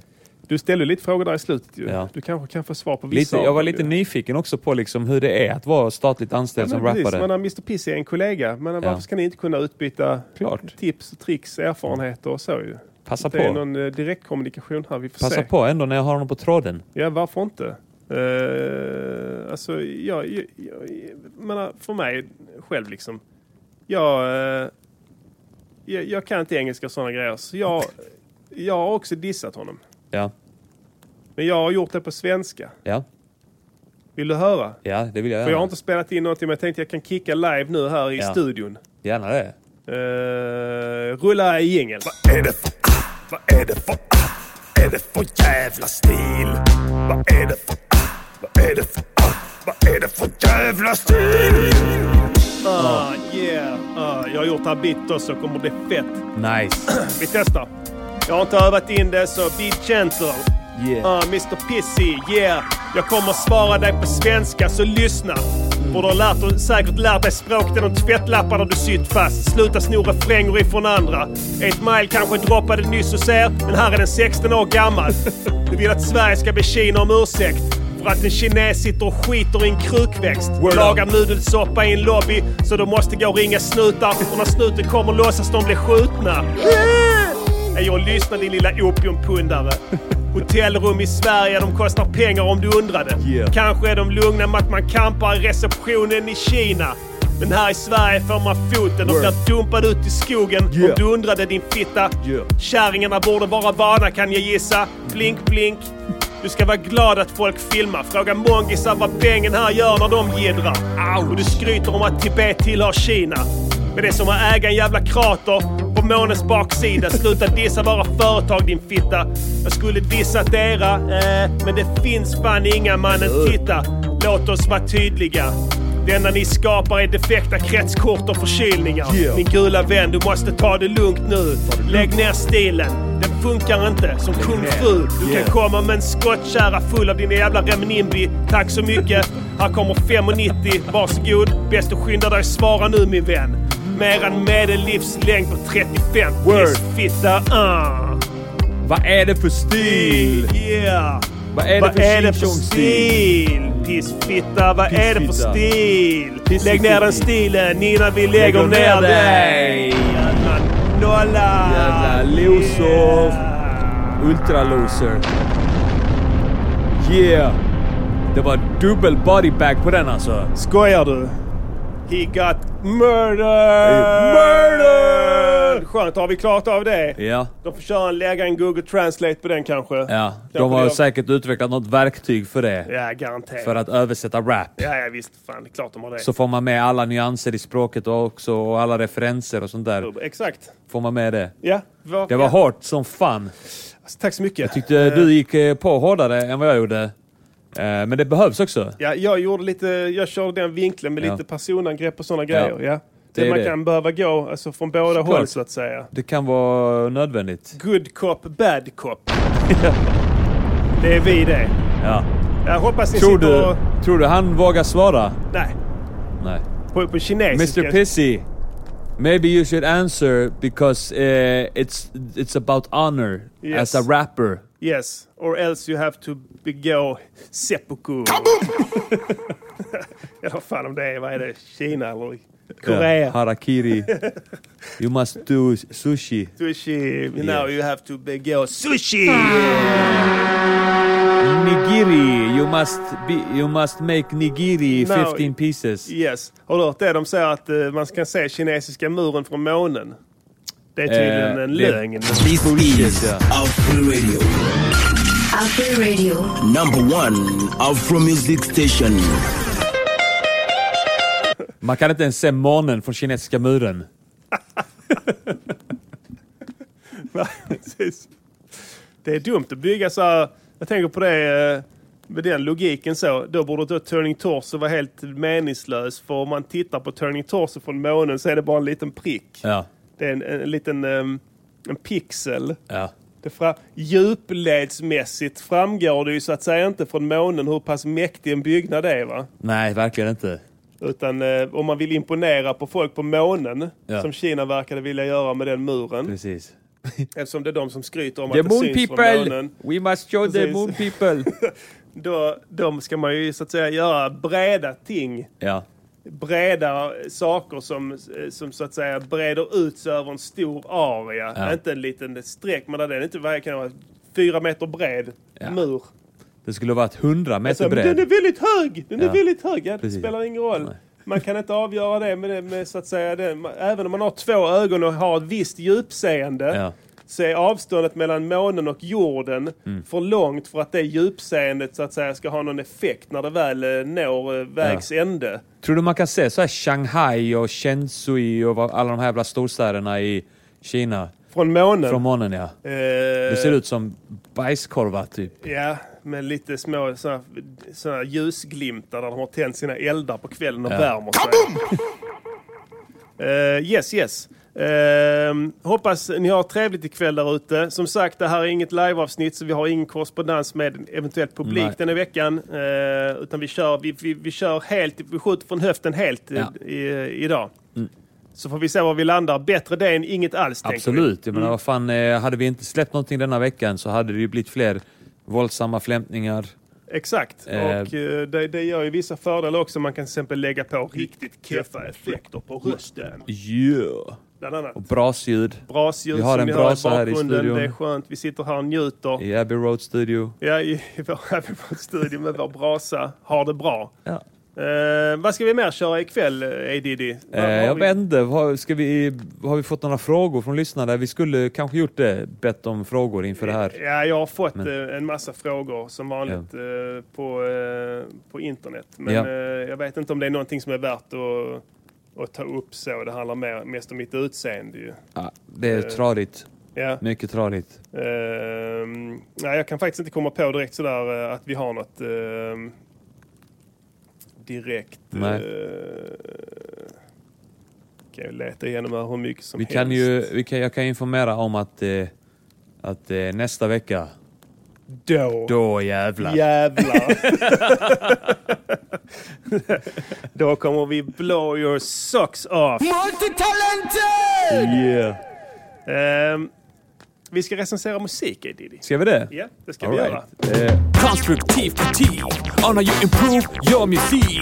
Speaker 1: Du ställde lite frågor där i slutet ju.
Speaker 4: Ja.
Speaker 1: Du kanske kan få svar på vissa
Speaker 4: lite,
Speaker 1: av
Speaker 4: jag var
Speaker 1: dem
Speaker 4: lite
Speaker 1: ju.
Speaker 4: nyfiken också på liksom hur det är att vara statligt anställd
Speaker 1: Ja,
Speaker 4: som
Speaker 1: men precis,
Speaker 4: rappare.
Speaker 1: men Mr Piss är en kollega, men varför ska ni inte kunna utbyta
Speaker 4: Klart.
Speaker 1: tips, tricks, erfarenheter och så ju?
Speaker 4: Passa
Speaker 1: Det är
Speaker 4: på.
Speaker 1: någon eh, direktkommunikation här, vi får
Speaker 4: Passa
Speaker 1: se.
Speaker 4: på ändå när jag har honom på tråden.
Speaker 1: Ja, varför inte? Uh, alltså, jag, jag, jag, jag menar, för mig själv liksom. Jag, eh, jag, jag kan inte engelska och sådana grejer, så jag, jag har också dissat honom.
Speaker 4: Ja.
Speaker 1: Men jag har gjort det på svenska.
Speaker 4: Ja.
Speaker 1: Vill du höra?
Speaker 4: ja, det vill jag
Speaker 1: För jag
Speaker 4: gärna.
Speaker 1: har inte spelat in någonting, men jag tänkte jag kan kicka live nu här i
Speaker 4: Ja.
Speaker 1: studion.
Speaker 4: Gärna det.
Speaker 1: Eh, rulla jingel.
Speaker 2: Vad är det för ah? Vad är det för ah? Är det för jävla stil? Vad är det för ah? Vad är det för ah? Vad är det för jävla stil?
Speaker 1: Ah, yeah. Ah, jag har gjort det här bit också, kommer bli fett.
Speaker 4: Nice.
Speaker 1: Vi testar. Jag har inte övat in det, så be gentle.
Speaker 4: Yeah.
Speaker 1: Ah, Mr Pissy, yeah. Jag kommer svara dig på svenska, så lyssna.
Speaker 4: Mm.
Speaker 1: För du har lärt, och säkert lärt dig språk där de tvättlapparna du sytt fast. Sluta sno refränger ifrån andra. Ett mile kanske droppade nyss hos er, men här är den 16 år gammal. Du vill att Sverige ska be Kina om ursäkt. För att en kines sitter och skiter i en krukväxt.
Speaker 4: Word
Speaker 1: Lagar nudelsoppa i en lobby, så de måste gå och ringa snutar. Och när snuten kommer låtsas de blir skjutna. Nej, Jag lyssnar din lilla opiumpundare. Hotellrum i Sverige, de kostar pengar om du undrade.
Speaker 4: Yeah.
Speaker 1: Kanske är de lugna med att man kampar i receptionen i Kina. Men här i Sverige får man foten och
Speaker 4: Word.
Speaker 1: blir dumpad ut i skogen om
Speaker 4: Yeah.
Speaker 1: du undrade din fitta.
Speaker 4: Yeah.
Speaker 1: Kärringarna borde vara vana kan jag gissa. Blink, blink. Du ska vara glad att folk filmar. Fråga mongisar vad pengen här gör när de jiddrar. Och du skryter om att Tibet tillhör Kina. Men det är som att äga en jävla krater på månens baksida. Sluta dissa våra företag din fitta. Jag skulle dissat era, eh, men det finns fan inga mannen. Titta, låt oss vara tydliga. Det enda ni skapar är defekta kretskort och förkylningar.
Speaker 4: Yeah.
Speaker 1: Min gula vän, du måste ta det lugnt nu. Lägg ner stilen. Den funkar inte som kung fu. Du
Speaker 4: Yeah.
Speaker 1: kan komma med en skottkärra full av dina jävla Remnimbi. Tack så mycket. Här kommer 5,90. Varsågod. Bäst du skyndar dig svara nu min vän. Mer än medellivslängd på 35.
Speaker 4: Word.
Speaker 1: Pissfitta. Uh.
Speaker 4: Vad är det för stil?
Speaker 1: Yeah.
Speaker 4: Vad är det
Speaker 1: Vad
Speaker 4: för
Speaker 1: är det för
Speaker 4: stil?
Speaker 1: stil? Pissfitta, vad är det för
Speaker 4: Pissfitta.
Speaker 1: stil?
Speaker 4: Pissfitta.
Speaker 1: Lägg ner den stilen innan vi lägger ner dig! Jävla nolla!
Speaker 4: Jävla loser! Ultra loser. Yeah! Det var dubbel bodybag på den alltså.
Speaker 1: Skojar du? He got murdered!
Speaker 4: Murdered!
Speaker 1: Skönt, har vi klart av det?
Speaker 4: Ja.
Speaker 1: De får köra en, lägga en Google Translate på den kanske.
Speaker 4: Ja, de
Speaker 1: Kanske
Speaker 4: har
Speaker 1: det-
Speaker 4: säkert utvecklat något verktyg för det.
Speaker 1: Ja, garanterat.
Speaker 4: För att översätta rap.
Speaker 1: Ja, ja, visst. Fan, det är klart de har det.
Speaker 4: Så får man med alla nyanser i språket och också och alla referenser och sånt där.
Speaker 1: Exakt.
Speaker 4: Får man med det.
Speaker 1: Ja.
Speaker 4: Det var hårt som fan.
Speaker 1: Alltså, Tack så mycket. Jag
Speaker 4: Du, du gick eh, på hårdare än vad jag gjorde. Eh, Men det behövs också.
Speaker 1: Ja, jag gjorde lite, jag körde den vinkeln med
Speaker 4: Ja.
Speaker 1: lite personangrepp och sådana grejer. Ja.
Speaker 4: Det är
Speaker 1: Det man
Speaker 4: det.
Speaker 1: kan behöva gå alltså, från båda håll
Speaker 4: Såklart.
Speaker 1: så att säga.
Speaker 4: Det kan vara nödvändigt.
Speaker 1: Good cop, bad cop. det är vi det.
Speaker 4: Ja.
Speaker 1: Jag hoppas ni
Speaker 4: Tror,
Speaker 1: sitter
Speaker 4: du,
Speaker 1: och...
Speaker 4: tror du han vågar svara?
Speaker 1: Nej,
Speaker 4: Nej.
Speaker 1: på, på kinesiska.
Speaker 4: Mr Pissy, maybe you should answer because eh, it's, it's about honor
Speaker 1: Yes.
Speaker 4: as a rapper.
Speaker 1: Yes, or else you have to begå seppuku. Eller vad fan om det är, vad är det? Kina eller
Speaker 4: Yeah,
Speaker 1: Korea?
Speaker 4: Harakiri. you must do sushi.
Speaker 1: Sushi.
Speaker 4: Yeah.
Speaker 1: Now you have to begå sushi!
Speaker 4: Nigiri. You must be, you must make nigiri
Speaker 1: No.
Speaker 4: 15 pieces.
Speaker 1: Yes. Har du hört det? De säger att eh, man kan se kinesiska muren från månen. Det är tydligen
Speaker 4: Eh,
Speaker 1: en
Speaker 4: det-
Speaker 1: lögn.
Speaker 6: These
Speaker 4: Yes,
Speaker 6: readers
Speaker 4: yeah.
Speaker 6: Outfree Radio,
Speaker 7: After Radio.
Speaker 6: number one Afro Music Station.
Speaker 4: Man kan inte ens se månen från kinesiska muren.
Speaker 1: Va? Precis. det är dumt att bygga så här. Jag tänker på det eh, med den logiken så. Då borde då Turning Torso vara helt meningslös. För om man tittar på Turning Torso från månen så är det bara en liten prick.
Speaker 4: Ja.
Speaker 1: Det är en, en, liten ehm, en pixel.
Speaker 4: ja.
Speaker 1: Det fra- djupledsmässigt framgår det ju så att säga inte från månen hur pass mäktig en byggnad är va?
Speaker 4: Nej, verkligen inte.
Speaker 1: Utan eh, om man vill imponera på folk på månen,
Speaker 4: Ja.
Speaker 1: som Kina verkade vilja göra med den muren,
Speaker 4: Precis.
Speaker 1: eftersom det är de som skryter om
Speaker 4: The
Speaker 1: att det
Speaker 4: moon
Speaker 1: syns från
Speaker 4: people!
Speaker 1: månen,
Speaker 4: We must show the
Speaker 1: Precis.
Speaker 4: moon people!
Speaker 1: då, då ska man ju så att säga göra breda ting.
Speaker 4: ja.
Speaker 1: Breda saker som, som så att säga breder ut sig över en stor area.
Speaker 4: Ja.
Speaker 1: Inte en liten streck, men där den inte vad kan det vara fyra meter bred
Speaker 4: Ja.
Speaker 1: mur.
Speaker 4: Det skulle varit 100 meter
Speaker 1: Så, Alltså, men den är
Speaker 4: bred.
Speaker 1: väldigt hög! Den
Speaker 4: Ja.
Speaker 1: är väldigt hög! Ja, det
Speaker 4: Precis.
Speaker 1: spelar ingen roll.
Speaker 4: Nej.
Speaker 1: Man kan inte avgöra det med, det med så att säga den. Även om man har två ögon och har ett visst djupseende
Speaker 4: Ja.
Speaker 1: så är avståndet mellan månen och jorden
Speaker 4: Mm.
Speaker 1: för långt för att det djupseendet så att säga ska ha någon effekt när det väl eh, når eh, vägs ände.
Speaker 4: Tror du man kan se så här Shanghai och Shenzhen och vad- alla de här jävla storstäderna i Kina?
Speaker 1: Från månen. Eh,
Speaker 4: Från månen ja. Eh. Det ser ut som bajskorvar typ.
Speaker 1: Ja, med lite små såna, såna ljusglimtar där de har tänt sina eldar på kvällen och
Speaker 4: Ja.
Speaker 1: värmer sig. Eh, yes, yes. Ehm, hoppas ni har trevligt ikväll där ute. Som sagt, det här är inget liveavsnitt så vi har ingen korrespondens med eventuell publik
Speaker 4: Nej.
Speaker 1: den här veckan. Eh, utan vi kör, vi, vi, vi kör helt, vi skjuter från höften helt eh,
Speaker 4: Ja. Mm.
Speaker 1: i, idag. Så får vi se var vi landar. Bättre det än inget alls, tänker vi.
Speaker 4: Absolut. Jag menar, vad fan, eh, hade vi inte släppt någonting denna veckan så hade det ju blivit fler våldsamma flämtningar.
Speaker 1: Exakt,
Speaker 4: Eh.
Speaker 1: och eh, det, det gör ju vissa fördelar också. Man kan till exempel lägga på riktigt keffa effekter på rösten.
Speaker 4: Yeah.
Speaker 1: Bland annat
Speaker 4: Och brasljud
Speaker 1: brasljud
Speaker 4: vi har
Speaker 1: som
Speaker 4: en
Speaker 1: ni hör i
Speaker 4: brasa här i
Speaker 1: bakgrunden.
Speaker 4: studion.
Speaker 1: Det är skönt, vi sitter här och njuter.
Speaker 4: i Abbey Road Studio.
Speaker 1: Ja, i i vår, i vår studio med vår brasa. Har det bra.
Speaker 4: Ja.
Speaker 1: Eh, vad ska vi mer köra ikväll, Edidi?
Speaker 4: Eh, jag vet inte, har, ska vi, har vi fått några frågor från lyssnare? Vi skulle kanske gjort det, bett om frågor inför det här.
Speaker 1: Ja, jag har fått eh, en massa frågor som vanligt eh, på, eh, på internet. Men
Speaker 4: Ja.
Speaker 1: eh, jag vet inte om det är någonting som är värt att, att ta upp så. Det handlar mer, mest om mitt utseende ju.
Speaker 4: Ja, det är tradigt,
Speaker 1: Ja.
Speaker 4: mycket tradigt.
Speaker 1: Ehm, nej, jag kan faktiskt inte komma på direkt sådär eh, att vi har något. ehm, direkt.
Speaker 4: Nej.
Speaker 1: eh, kan jag leta igenom här hur mycket som
Speaker 4: Vi
Speaker 1: helst.
Speaker 4: kan ju, vi kan, jag kan informera om att, eh, att eh, nästa vecka,
Speaker 1: Då.
Speaker 4: då jävlar.
Speaker 1: Jävlar. Då kommer vi blow your socks off.
Speaker 4: Yeah.
Speaker 1: Ehm, vi ska recensera musik, eh, Diddy.
Speaker 4: Ska vi det?
Speaker 1: Ja, det ska
Speaker 4: All
Speaker 1: vi
Speaker 4: right.
Speaker 1: göra.
Speaker 4: Eh,
Speaker 5: Constructive critique on how you improve your music.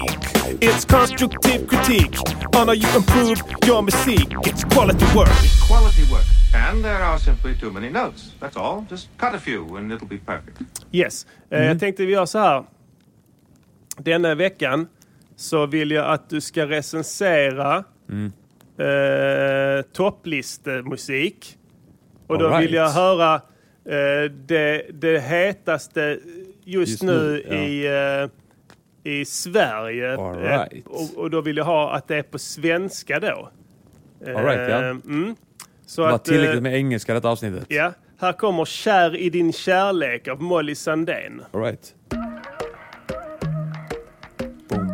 Speaker 1: It's constructive critique on how you improve your music. It's quality work.
Speaker 3: Quality work. And there are simply too many notes. That's all. Just cut a few and it'll be perfect.
Speaker 1: Yes. Eh,
Speaker 4: Mm.
Speaker 1: Jag tänkte vi gör så här. Denna veckan så vill jag att du ska recensera
Speaker 4: Mm.
Speaker 1: eh, topplistemusik. Och då
Speaker 4: All right.
Speaker 1: vill jag höra eh, det, det hetaste just,
Speaker 4: Just
Speaker 1: nu,
Speaker 4: nu, ja.
Speaker 1: i, eh, i Sverige.
Speaker 4: All
Speaker 1: Eh,
Speaker 4: right.
Speaker 1: och, och då vill jag ha att det är på svenska då.
Speaker 4: All right, ja.
Speaker 1: Eh, mm. Så
Speaker 4: Det var
Speaker 1: att, eh,
Speaker 4: tillräckligt med engelska i detta avsnittet.
Speaker 1: Ja, här kommer Kär i din kärlek av Molly Sandén.
Speaker 4: All right. Boom.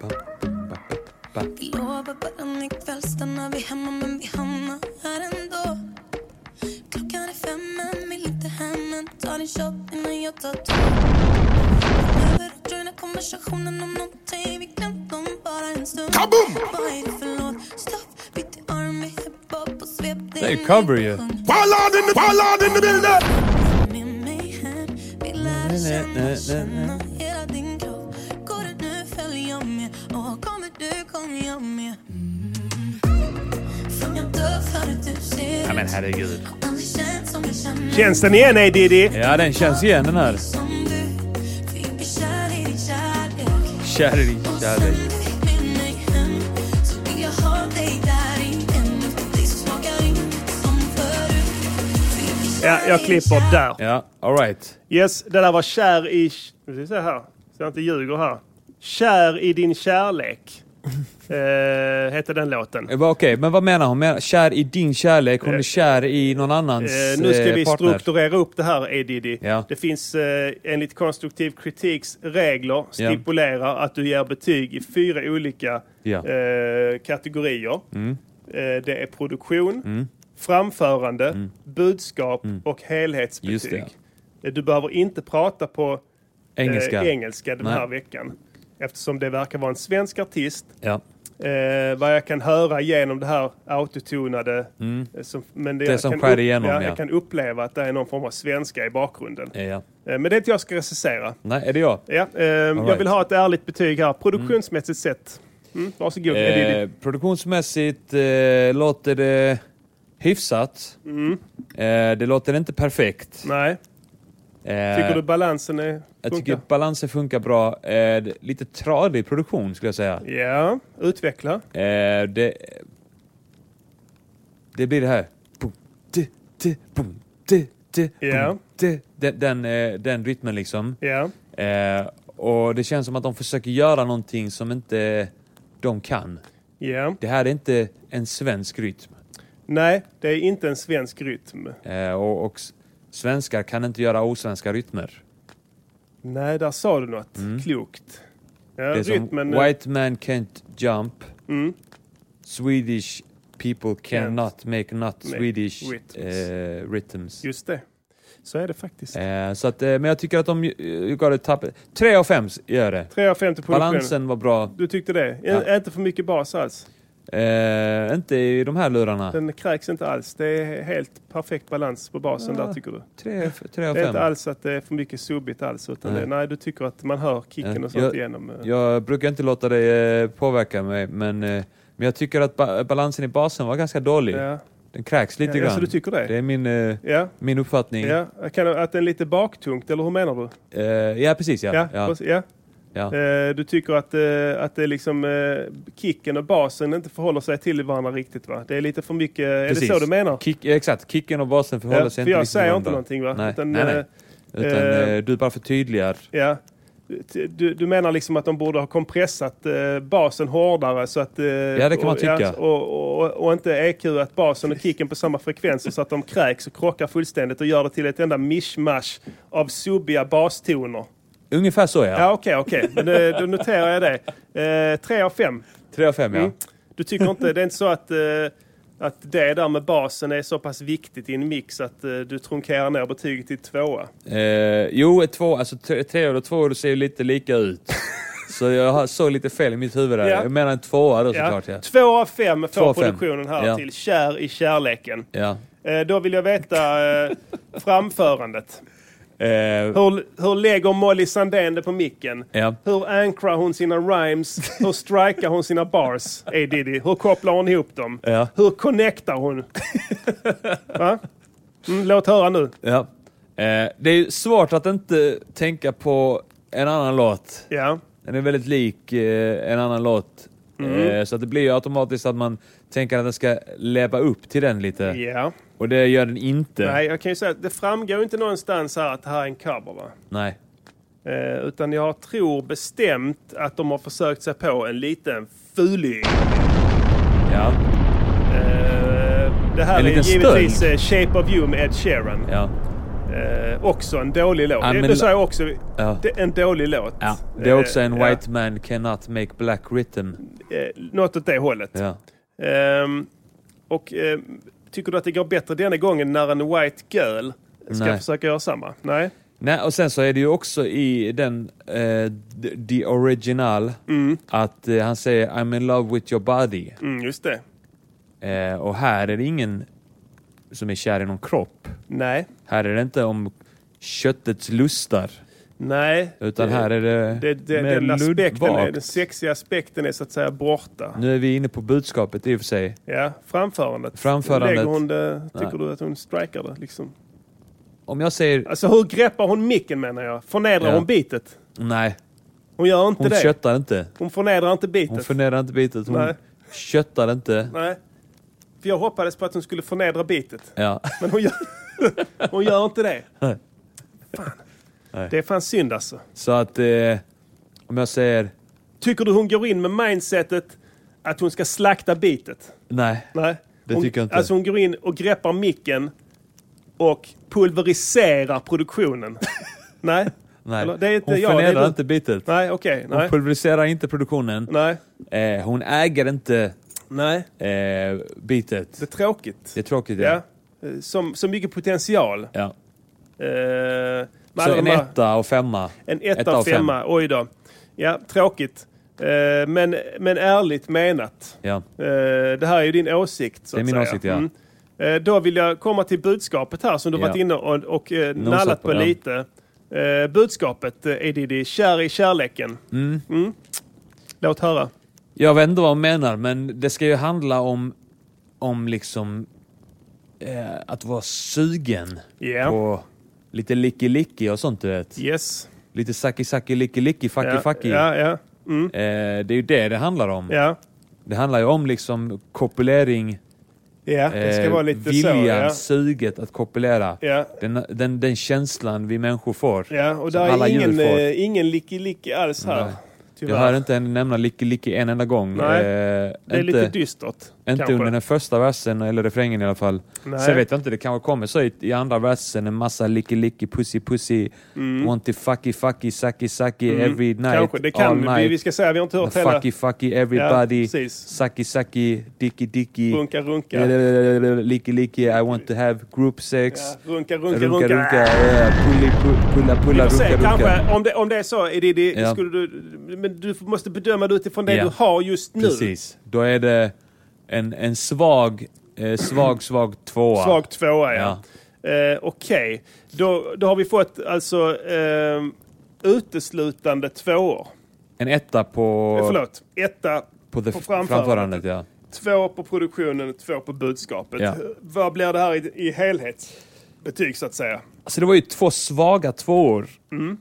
Speaker 4: Ba, ba, ba, ba.
Speaker 8: Lovar bara en ikväll stannar vi hemma men vi hamnar här ändå Klockan är fem men vill inte hem men tar en shot innan jag tar två Behöver joina konversationen om någonting vi glömt om bara en stund Kaboom! Vad är det för låt? Stuff, beat i arm, vi hiphop och svep
Speaker 4: Det är cover ju.
Speaker 8: Med mig hem, vi lär känna, känna hela din kropp Går det nu följer jag med och kommer du kommer jag med Från jag dör för att du ser ut
Speaker 4: Ja, men herregud.
Speaker 8: Har aldrig känt som jag känner
Speaker 1: Känns den igen, A. Diddy?
Speaker 4: Ja, den känns igen den här.
Speaker 8: som du Fick bli kär i din kärlek
Speaker 4: Kär i din
Speaker 8: Och sen
Speaker 4: kärlek.
Speaker 8: du fick med mig hem Så vill jag ha dig där inne Efter dig så smakar inget som förut Fick bli
Speaker 1: Ja,
Speaker 8: kär i
Speaker 1: jag
Speaker 8: din
Speaker 1: klipper
Speaker 8: kärlek.
Speaker 1: där.
Speaker 4: Ja, all right.
Speaker 1: Yes, det där var kär i... Nu ska vi se här, så jag inte ljuger här. Kär i din kärlek. eh, hette den låten.
Speaker 4: Eh, va, Okej, men vad menar hon? Menar, kär i din kärlek, hon är kär i någon annans
Speaker 1: Eh, nu ska
Speaker 4: eh,
Speaker 1: vi
Speaker 4: partner.
Speaker 1: strukturera upp det här, A. Diddy.
Speaker 4: Ja.
Speaker 1: Det finns eh, enligt konstruktiv kritiks regler stipulerar att du ger betyg i fyra olika
Speaker 4: Ja. Mm.
Speaker 1: eh, kategorier. Eh, det är produktion, framförande, budskap och
Speaker 4: Mm. Just
Speaker 1: helhetsbetyg.
Speaker 4: det.
Speaker 1: Eh, Du behöver inte prata på
Speaker 4: Engelska.
Speaker 1: eh, engelska den
Speaker 4: Nej.
Speaker 1: här veckan. Eftersom det verkar vara en svensk artist.
Speaker 4: Ja.
Speaker 1: Eh, vad jag kan höra genom det här autotonade. eh, Som, men det, jag
Speaker 4: Mm. som
Speaker 1: kan
Speaker 4: skär
Speaker 1: upp-
Speaker 4: igenom,
Speaker 1: ja,
Speaker 4: ja.
Speaker 1: Jag kan uppleva att det är någon form av svenska i bakgrunden.
Speaker 4: Ja, ja.
Speaker 1: Eh, men det är inte jag ska recensera.
Speaker 4: Nej, är det jag?
Speaker 1: Ja, eh, Jag
Speaker 4: right.
Speaker 1: vill ha ett ärligt betyg här, produktionsmässigt sett. Mm, varsågod.
Speaker 4: Eh,
Speaker 1: Edidi.
Speaker 4: produktionsmässigt eh, låter det hyfsat.
Speaker 1: Mm.
Speaker 4: Eh, det låter inte perfekt.
Speaker 1: Nej,
Speaker 4: Eh,
Speaker 1: tycker du balansen är...
Speaker 4: jag
Speaker 1: funkar?
Speaker 4: tycker balansen funkar bra. Eh, det- lite tradig produktion skulle jag säga.
Speaker 1: Ja, utveckla.
Speaker 4: Eh, det, det blir det här. Boom, di, di, boom, di, di, boom,
Speaker 1: Ja.
Speaker 4: di. Den, den, eh, den rytmen liksom.
Speaker 1: Ja.
Speaker 4: Eh, och det känns som att de försöker göra någonting som inte de kan.
Speaker 1: ja.
Speaker 4: Det här är inte en svensk rytm.
Speaker 1: Nej, det är inte en svensk rytm.
Speaker 4: Eh, och, och s- svenskar kan inte göra osvenska rytmer.
Speaker 1: Nej, där sa du något klokt. Ja,
Speaker 4: Mm. Det är som
Speaker 1: rytmen...
Speaker 4: White man can't jump.
Speaker 1: Mm.
Speaker 4: Swedish people cannot make not Swedish
Speaker 1: rhythms.
Speaker 4: eh, rhythms.
Speaker 1: Just det. Så är det faktiskt.
Speaker 4: Eh, så att, eh, men jag tycker att de eh, gav det tapp... 3 av 5 gör det.
Speaker 1: 3 av 5 till produktionen.
Speaker 4: Balansen var bra.
Speaker 1: Du tyckte det?
Speaker 4: Ja.
Speaker 1: Ä- Inte för mycket bas alls.
Speaker 4: Eh, inte i de här lurarna.
Speaker 1: Den kräks inte alls. Det är helt perfekt balans på basen där tycker du.
Speaker 4: 3 av
Speaker 1: Det är
Speaker 4: 5.
Speaker 1: inte alls att det är för mycket subbigt alls. Utan nej.
Speaker 4: Nej.
Speaker 1: Det, nej, du tycker att man hör kicken
Speaker 4: Ja.
Speaker 1: och sånt
Speaker 4: Jag-
Speaker 1: igenom. eh.
Speaker 4: Jag brukar inte låta det eh, påverka mig, men, eh, men jag tycker att ba balansen i basen var ganska dålig.
Speaker 1: Ja.
Speaker 4: Den kräks lite
Speaker 1: Ja,
Speaker 4: grann.
Speaker 1: alltså, du tycker det?
Speaker 4: är min, eh,
Speaker 1: Ja.
Speaker 4: min uppfattning.
Speaker 1: Ja, kan, att den är lite baktungt, eller hur menar du?
Speaker 4: Eh, ja, precis. Ja.
Speaker 1: Ja,
Speaker 4: Ja.
Speaker 1: precis, ja.
Speaker 4: Ja.
Speaker 1: Eh, Du tycker att, eh, att det är liksom eh, kicken och basen inte förhåller sig till varandra riktigt va? Det är lite för mycket, är
Speaker 4: Precis.
Speaker 1: det så du menar?
Speaker 4: Kick, eh, exakt, kicken och basen förhåller
Speaker 1: Ja,
Speaker 4: sig
Speaker 1: för
Speaker 4: inte
Speaker 1: jag
Speaker 4: riktigt
Speaker 1: säger
Speaker 4: till
Speaker 1: inte
Speaker 4: varandra.
Speaker 1: någonting va?
Speaker 4: Nej,
Speaker 1: Utan,
Speaker 4: nej, nej.
Speaker 1: eh,
Speaker 4: Utan
Speaker 1: eh,
Speaker 4: eh, du bara förtydligar.
Speaker 1: Ja. T- Du, du menar liksom att de borde ha kompressat eh, basen hårdare så att... eh,
Speaker 4: det kan man
Speaker 1: och, ja,
Speaker 4: tycka.
Speaker 1: Och, och, och inte EQ att basen och kicken på samma frekvenser så att de kräks och krockar fullständigt och gör det till ett enda mishmash av subbiga bastoner.
Speaker 4: Ungefär så ja.
Speaker 1: Ja, okej, okej. Men eh, då noterar jag det. Eh, tre av fem.
Speaker 4: Tre av fem ja.
Speaker 1: Mm. Du tycker inte, det är inte så att, eh, att det där med basen är så pass viktigt i en mix att eh, du trunkerar ner betyget till tvåa?
Speaker 4: Eh, jo, ett två, alltså tre, tre och två ser ju lite lika ut. så jag har- såg lite fel i mitt huvud där.
Speaker 1: Ja.
Speaker 4: Jag menar en tvåa då såklart ja.
Speaker 1: Två av fem
Speaker 4: Två av
Speaker 1: får
Speaker 4: fem.
Speaker 1: produktionen här
Speaker 4: Ja.
Speaker 1: till Kär i kärleken.
Speaker 4: ja.
Speaker 1: Eh, då vill jag veta eh, framförandet.
Speaker 4: Eh,
Speaker 1: Hur, hur lägger Molly Sandén det på micken?
Speaker 4: Ja.
Speaker 1: Hur ankrar hon sina rhymes? Hur strikar hon sina bars? Hey Diddy. Hur kopplar hon ihop dem?
Speaker 4: Ja.
Speaker 1: Hur connectar hon? Va? Mm, låt höra nu.
Speaker 4: ja. Eh, det är ju svårt att inte tänka på en annan låt.
Speaker 1: Ja.
Speaker 4: Den är väldigt lik eh, en annan låt.
Speaker 1: Mm.
Speaker 4: Eh, så att det blir ju automatiskt att man tänker att den ska leva upp till den lite.
Speaker 1: Ja.
Speaker 4: Och det gör den inte.
Speaker 1: Nej, jag kan ju säga att det framgår ju inte någonstans här att det här är en cover. Va?
Speaker 4: Nej.
Speaker 1: Eh, utan jag tror bestämt att de har försökt sig på en liten fuling.
Speaker 4: Ja.
Speaker 1: Eh, det här
Speaker 4: En
Speaker 1: är
Speaker 4: liten
Speaker 1: givetvis eh, Shape of You med Ed Sheeran.
Speaker 4: Ja.
Speaker 1: Eh, också en dålig låt.
Speaker 4: Ja,
Speaker 1: Det-
Speaker 4: men-
Speaker 1: det sa jag också.
Speaker 4: Ja.
Speaker 1: Det är en dålig låt.
Speaker 4: ja. Det är också en
Speaker 1: Eh, ja.
Speaker 4: White man cannot make black written.
Speaker 1: Eh, något åt det hållet.
Speaker 4: Ja.
Speaker 1: Ehm, och ehm, tycker du att det går bättre denna gången när en white girl ska
Speaker 4: Nej.
Speaker 1: försöka göra samma? Nej.
Speaker 4: Nej, och sen så är det ju också i den, eh, d- the original, att eh, han säger I'm in love with your body.
Speaker 1: Mm, just det.
Speaker 4: Eh, och här är det ingen som är kär i någon kropp.
Speaker 1: Nej.
Speaker 4: Här är det inte om köttets lustar,
Speaker 1: Nej.
Speaker 4: utan
Speaker 1: Det-
Speaker 4: här är det,
Speaker 1: det, det,
Speaker 4: mer
Speaker 1: den, aspekten är,
Speaker 4: luddvagt.
Speaker 1: den sexiga aspekten är så att säga borta.
Speaker 4: Nu är vi inne på budskapet i och för sig.
Speaker 1: Ja, framförandet.
Speaker 4: Framförandet.
Speaker 1: Lägger hon det, tycker
Speaker 4: Nej.
Speaker 1: du att hon strikar det? Liksom?
Speaker 4: Om jag säger
Speaker 1: Alltså hur greppar hon micken menar jag? Förnedrar
Speaker 4: Ja.
Speaker 1: hon bitet?
Speaker 4: nej,
Speaker 1: Hon gör inte
Speaker 4: hon
Speaker 1: det.
Speaker 4: köttar inte.
Speaker 1: Hon förnedrar inte bitet.
Speaker 4: Hon förnedrar inte bitet. Hon
Speaker 1: Nej.
Speaker 4: köttar inte.
Speaker 1: Nej. För jag hoppades på att hon skulle förnedra bitet.
Speaker 4: Ja.
Speaker 1: Men hon gör, hon gör inte det.
Speaker 4: Nej.
Speaker 1: Fan. Det är fan synd alltså.
Speaker 4: Så att eh, om jag säger
Speaker 1: Tycker du hon går in med mindsetet att hon ska slakta bitet?
Speaker 4: nej,
Speaker 1: Nej.
Speaker 4: Det
Speaker 1: hon,
Speaker 4: tycker jag inte.
Speaker 1: Alltså hon går in och greppar micken och pulveriserar produktionen. Nej.
Speaker 4: nej.
Speaker 1: Eller, det är inte
Speaker 4: hon
Speaker 1: jag, det är
Speaker 4: förnedrar
Speaker 1: du.
Speaker 4: inte bitet.
Speaker 1: Nej, okej.
Speaker 4: Hon
Speaker 1: Nej.
Speaker 4: pulveriserar inte produktionen.
Speaker 1: Nej.
Speaker 4: Eh, hon äger inte
Speaker 1: Nej.
Speaker 4: eh, bitet.
Speaker 1: Det är tråkigt.
Speaker 4: Det är tråkigt.
Speaker 1: Ja.
Speaker 4: Ja.
Speaker 1: Eh, Som, så mycket potential. Eh,
Speaker 4: Ja.
Speaker 1: med
Speaker 4: Så
Speaker 1: alla de
Speaker 4: en
Speaker 1: här-
Speaker 4: etta och femma.
Speaker 1: En
Speaker 4: Etta
Speaker 1: etta
Speaker 4: av
Speaker 1: och
Speaker 4: fem.
Speaker 1: femma, oj då. Ja, tråkigt. Eh, men, men ärligt menat.
Speaker 4: Ja.
Speaker 1: Eh, det här är ju din åsikt. Så
Speaker 4: Det är
Speaker 1: att
Speaker 4: min
Speaker 1: säga.
Speaker 4: åsikt, ja.
Speaker 1: Eh, då vill jag komma till budskapet här som du
Speaker 4: Ja.
Speaker 1: varit inne och, och eh,
Speaker 4: Nosat
Speaker 1: nallat
Speaker 4: på,
Speaker 1: på
Speaker 4: ja.
Speaker 1: lite. Eh, budskapet eh, är det, det kär i kärleken. Mm. Låt höra.
Speaker 4: Jag vet inte vad hon menar, men det ska ju handla om, om liksom eh, att vara sugen
Speaker 1: Ja.
Speaker 4: på lite licky-licky och sånt du vet.
Speaker 1: Yes.
Speaker 4: Lite saki-saki, licky-licky,
Speaker 1: Ja,
Speaker 4: fucky-fucky.
Speaker 1: ja, ja,
Speaker 4: Eh, det är ju det det handlar om.
Speaker 1: ja.
Speaker 4: Det handlar ju om liksom kopulering,
Speaker 1: Ja, det ska
Speaker 4: eh,
Speaker 1: vara lite
Speaker 4: viljan,
Speaker 1: så. Ja.
Speaker 4: suget att kopulera.
Speaker 1: Ja.
Speaker 4: Den, den, den känslan vi människor får.
Speaker 1: Ja, och
Speaker 4: som
Speaker 1: där
Speaker 4: alla
Speaker 1: är
Speaker 4: djur
Speaker 1: ingen,
Speaker 4: får.
Speaker 1: eh, ingen licky-licky alls här.
Speaker 4: Nej.
Speaker 1: Tyvärr.
Speaker 4: Jag hör inte henne nämna licky-licky en enda gång.
Speaker 1: Nej,
Speaker 4: Eh,
Speaker 1: det är
Speaker 4: inte,
Speaker 1: lite dystert.
Speaker 4: Inte
Speaker 1: kanske.
Speaker 4: under den första versen, eller refrängen i alla fall.
Speaker 1: Nej.
Speaker 4: Sen vet jag inte, det kanske kommer så i, i andra versen, en massa licky-licky, pussy-pussy, want to fucky-fucky, sucky-sucky, every night,
Speaker 1: Mm. Kanske, det
Speaker 4: all
Speaker 1: kan vi.
Speaker 4: night.
Speaker 1: Vi ska säga, vi har inte hört hela
Speaker 4: Fucky-fucky, everybody,
Speaker 1: precis.
Speaker 4: sucky-sucky, dicky-dicky,
Speaker 1: runka, runka. Ja,
Speaker 4: licky-licky, I want to have group sex.
Speaker 1: runka, runka, runka.
Speaker 4: Runka, runka, eh, pulli- pu- pulla,
Speaker 1: Vi
Speaker 4: pulla,
Speaker 1: får se,
Speaker 4: runka, runka.
Speaker 1: kanske, om det, om det är så, är det, det,
Speaker 4: Ja.
Speaker 1: skulle du, men du måste bedöma det utifrån det
Speaker 4: Ja.
Speaker 1: du har just nu.
Speaker 4: Precis. Då är det en, en svag, eh, svag, svag tvåa.
Speaker 1: Svag tvåa, ja. Eh, Okej, då, då har vi fått alltså eh, uteslutande tvåor.
Speaker 4: En etta på...
Speaker 1: Eh, Förlåt, etta
Speaker 4: På, det
Speaker 1: på
Speaker 4: f-
Speaker 1: framförandet.
Speaker 4: framförandet, ja.
Speaker 1: två på produktionen, två på budskapet.
Speaker 4: Ja.
Speaker 1: Vad blir det här i, i helhetsbetyg så att säga?
Speaker 4: Alltså det var ju två svaga tvåor.
Speaker 1: Mm.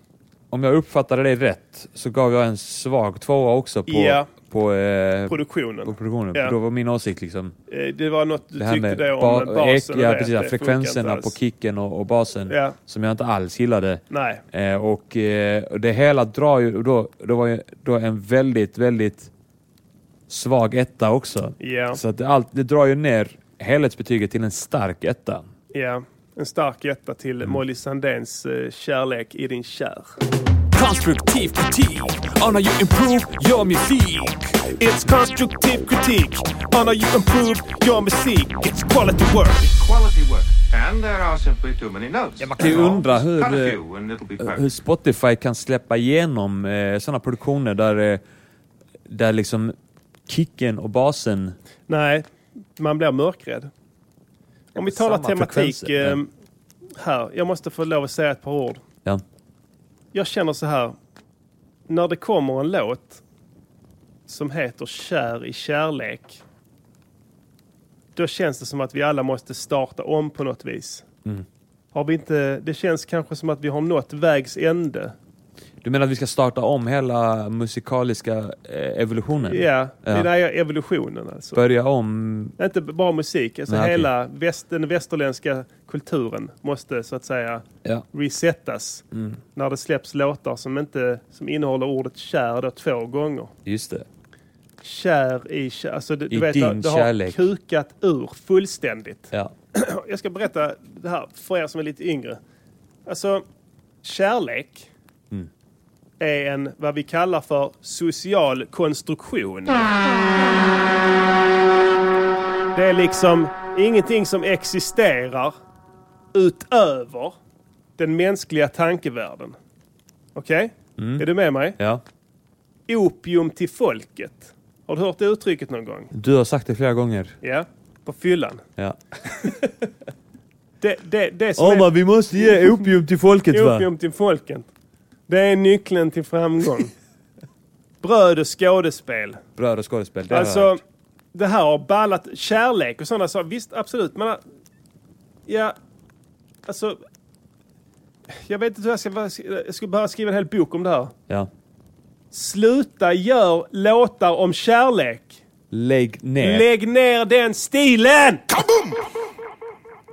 Speaker 4: Om jag uppfattade det rätt så gav jag en svag tvåa också på,
Speaker 1: Ja.
Speaker 4: på, eh,
Speaker 1: Produktionen.
Speaker 4: på produktionen.
Speaker 1: Ja.
Speaker 4: Då var min åsikt liksom...
Speaker 1: Eh, Det var något du
Speaker 4: Det här
Speaker 1: tyckte
Speaker 4: med
Speaker 1: det om
Speaker 4: ba-
Speaker 1: basen.
Speaker 4: ek-
Speaker 1: och
Speaker 4: ja,
Speaker 1: det,
Speaker 4: precis,
Speaker 1: det
Speaker 4: ja,
Speaker 1: funkar
Speaker 4: frekvenserna
Speaker 1: inte
Speaker 4: på
Speaker 1: alls.
Speaker 4: kicken och, och basen
Speaker 1: Ja.
Speaker 4: som jag inte alls gillade.
Speaker 1: Nej.
Speaker 4: Eh, och eh, och det hela drar ju... och Då, då var ju då en väldigt, väldigt svag etta också.
Speaker 1: Ja.
Speaker 4: Så att det, allt, det drar ju ner helhetsbetyget till en stark etta. Mm.
Speaker 1: ja. En stark etta till Molly Sandéns eh, Kärlek i din kär.
Speaker 5: Constructive critique on how you improve your music.
Speaker 2: It's constructive critique on how you improve your music. It's quality work.
Speaker 3: Quality work. And there are simply too many notes.
Speaker 4: man kan ju
Speaker 3: That's all.
Speaker 4: undra
Speaker 3: Just
Speaker 4: hur,
Speaker 3: Cut a
Speaker 4: eh,
Speaker 3: few and it'll be
Speaker 4: Hur
Speaker 3: perfect.
Speaker 4: Spotify kan släppa igenom eh, sådana produktioner där, eh, där liksom kicken och basen...
Speaker 1: Nej, man blir mörkrädd. Om vi talar
Speaker 4: samma
Speaker 1: tematik
Speaker 4: frekvenser,
Speaker 1: ehm, här. Jag måste få lov att säga ett par ord.
Speaker 4: Ja.
Speaker 1: Jag känner så här. När det kommer en låt som heter Kär i kärlek. Då känns det som att vi alla måste starta om på något vis.
Speaker 4: Mm.
Speaker 1: Har vi inte, det känns kanske som att vi har nått vägs ände.
Speaker 4: Mm. Du menar att vi ska starta om hela musikaliska eh, evolutionen?
Speaker 1: Ja, det
Speaker 4: Ja.
Speaker 1: är den här evolutionen alltså.
Speaker 4: Börja om...
Speaker 1: Inte bara musik, alltså
Speaker 4: Nej, okej.
Speaker 1: hela väst, den västerländska kulturen måste så att säga
Speaker 4: Ja.
Speaker 1: resetas.
Speaker 4: Mm.
Speaker 1: När det släpps låtar som, inte, som innehåller ordet kär då två gånger.
Speaker 4: Just det.
Speaker 1: Kär i kär, alltså du,
Speaker 4: I
Speaker 1: du vet,
Speaker 4: din
Speaker 1: det, det har
Speaker 4: kärlek.
Speaker 1: kukat ur fullständigt.
Speaker 4: Ja.
Speaker 1: Jag ska berätta det här för er som är lite yngre. Alltså, kärlek är en, vad vi kallar för, social konstruktion. Det är liksom ingenting som existerar utöver den mänskliga tankevärlden. Okej? Är du med mig?
Speaker 4: ja.
Speaker 1: Opium till folket. Har du hört det uttrycket någon gång?
Speaker 4: Du har sagt det flera gånger.
Speaker 1: Ja, på fyllan.
Speaker 4: Ja.
Speaker 1: Det, det, det som är...
Speaker 4: vi måste ge opium till folket
Speaker 1: Opium till folket. Det är nyckeln till framgång. Bröd och skådespel.
Speaker 4: Bröd och skådespel. Det har jag
Speaker 1: alltså,
Speaker 4: hört.
Speaker 1: det här har ballat. Kärlek och sådana saker. Visst, absolut. Men, ja, alltså... Jag vet inte hur jag ska... vad jag ska- Jag skulle behöva skriva en hel bok om det här.
Speaker 4: Ja.
Speaker 1: Sluta gör låtar om kärlek.
Speaker 4: Lägg ner.
Speaker 1: Lägg ner den stilen!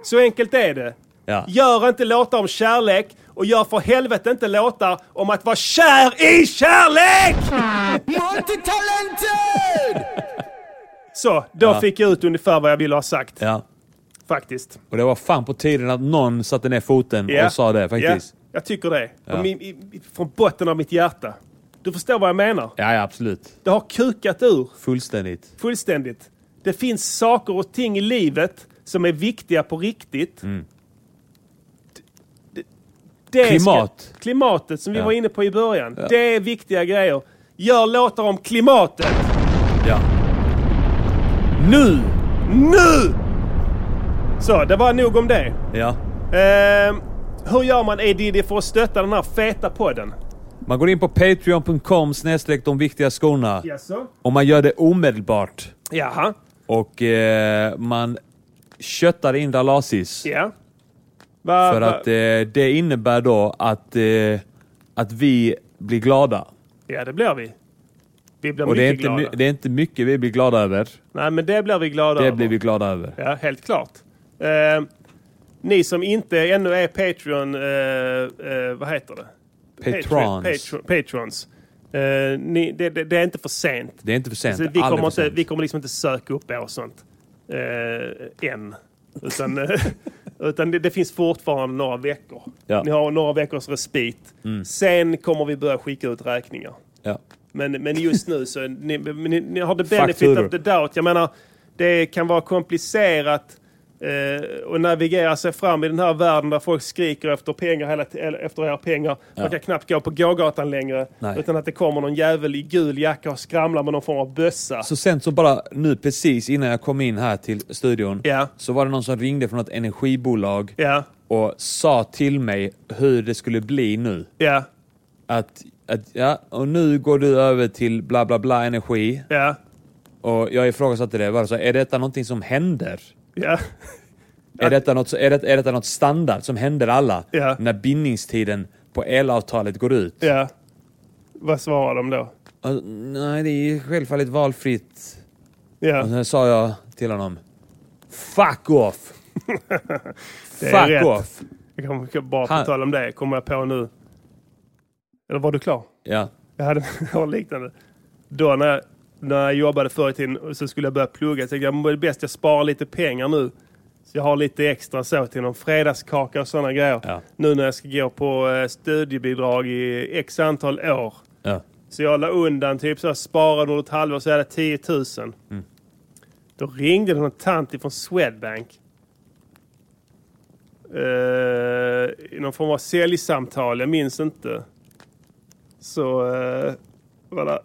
Speaker 1: Så enkelt är det.
Speaker 4: ja.
Speaker 1: Gör inte låtar om kärlek och gör för helvete inte låtar om att vara kär i kärlek! Så, då fick jag ut ungefär vad jag ville ha sagt.
Speaker 4: ja.
Speaker 1: Faktiskt.
Speaker 4: Och det var fan på tiden att någon satte ner foten
Speaker 1: Ja.
Speaker 4: och sa det faktiskt.
Speaker 1: Ja, jag tycker det.
Speaker 4: Ja.
Speaker 1: Om i- i- Från botten av mitt hjärta. Du förstår vad jag menar.
Speaker 4: Ja, ja absolut.
Speaker 1: Det har kukat ur
Speaker 4: Fullständigt.
Speaker 1: fullständigt. Det finns saker och ting i livet som är viktiga på riktigt.
Speaker 4: Mm.
Speaker 1: Det- det ska-
Speaker 4: Klimat.
Speaker 1: klimatet som vi
Speaker 4: Ja.
Speaker 1: var inne på i början. Det är viktiga grejer. Gör låtar om klimatet.
Speaker 4: Ja.
Speaker 1: Nu! Nu! Så, det var nog om det.
Speaker 4: Ja.
Speaker 1: Ehm, hur gör man Edidi för att stötta den här feta podden?
Speaker 4: Man går in på patreon.com snedstreck de viktiga skorna.
Speaker 1: Jaså?
Speaker 4: Och man gör det omedelbart.
Speaker 1: Jaha.
Speaker 4: Och eh, man köttar in Dalasis.
Speaker 1: Ja. Va,
Speaker 4: För
Speaker 1: va-
Speaker 4: att eh, det innebär då att, eh, att vi blir glada.
Speaker 1: Ja, det blir vi. Vi blir
Speaker 4: Och
Speaker 1: mycket
Speaker 4: det är, inte,
Speaker 1: glada.
Speaker 4: my- det är inte mycket vi blir glada över.
Speaker 1: Nej, men det blir vi glada
Speaker 4: Det
Speaker 1: över.
Speaker 4: blir vi glada över.
Speaker 1: Ja, helt klart. Eh, ni som inte ännu är Patreon, eh, eh, vad heter det?
Speaker 4: Patrons.
Speaker 1: Patreon, patrons. Eh, ni, det, det, det är inte för sent.
Speaker 4: Det är inte för sent.
Speaker 1: Så Alltså, vi,
Speaker 4: Aldrig
Speaker 1: kommer inte,
Speaker 4: för sent.
Speaker 1: vi kommer liksom inte söka upp er och sånt. Eh, än. Utan, eh, utan det, det finns fortfarande några veckor.
Speaker 4: Ja. Mm.
Speaker 1: Ni har några veckors respit. Sen kommer vi börja skicka ut räkningar.
Speaker 4: Ja.
Speaker 1: Men, men just nu så ni, men ni, ni har the benefit
Speaker 4: Fakturor.
Speaker 1: of the doubt. Jag menar, det kan vara komplicerat eh, att navigera sig fram i den här världen där folk skriker efter pengar hela t- eller efter era pengar. Man kan knappt gå på gågatan längre
Speaker 4: Nej.
Speaker 1: utan att det kommer någon jävel i gul jacka och skramlar med någon form av bössa.
Speaker 4: Så sent som bara nu precis innan jag kom in här till studion
Speaker 1: Ja.
Speaker 4: så var det någon som ringde från ett energibolag
Speaker 1: Ja,
Speaker 4: och sa till mig hur det skulle bli nu.
Speaker 1: ja,
Speaker 4: Att, att ja, och nu går du över till bla bla bla energi.
Speaker 1: ja,
Speaker 4: Och jag ifrågasatte det. Bara så, är detta någonting som händer?
Speaker 1: ja.
Speaker 4: Är detta, något, är, det, är detta något standard som händer alla
Speaker 1: Ja.
Speaker 4: när bindningstiden på elavtalet går ut?
Speaker 1: ja. Vad svarar de då?
Speaker 4: Och, nej, det är ju självfallet valfritt.
Speaker 1: Ja,
Speaker 4: Och sen sa jag till honom. Fuck off!
Speaker 1: det är
Speaker 4: Fuck
Speaker 1: rätt.
Speaker 4: off!
Speaker 1: Jag kan- kan bara på
Speaker 4: Han-
Speaker 1: tal om det, kommer jag på nu. Eller var du klar?
Speaker 4: Ja.
Speaker 1: Jag hade något liknande. Då när jag, när jag jobbade förr i tiden och så skulle jag börja plugga. Så jag tänkte, "Ja, men det är bäst jag sparar lite pengar nu. Så jag har lite extra så till någon fredagskaka och sådana grejer.
Speaker 4: Ja.
Speaker 1: Nu när jag ska gå på eh, studiebidrag i x antal år.
Speaker 4: Ja.
Speaker 1: Så jag la undan, typ så jag sparade under ett halvår så jag hade 10 000. Då ringde det någon tant ifrån Swedbank. Eh, I någon form av säljsamtal, jag minns inte. Så, eh, var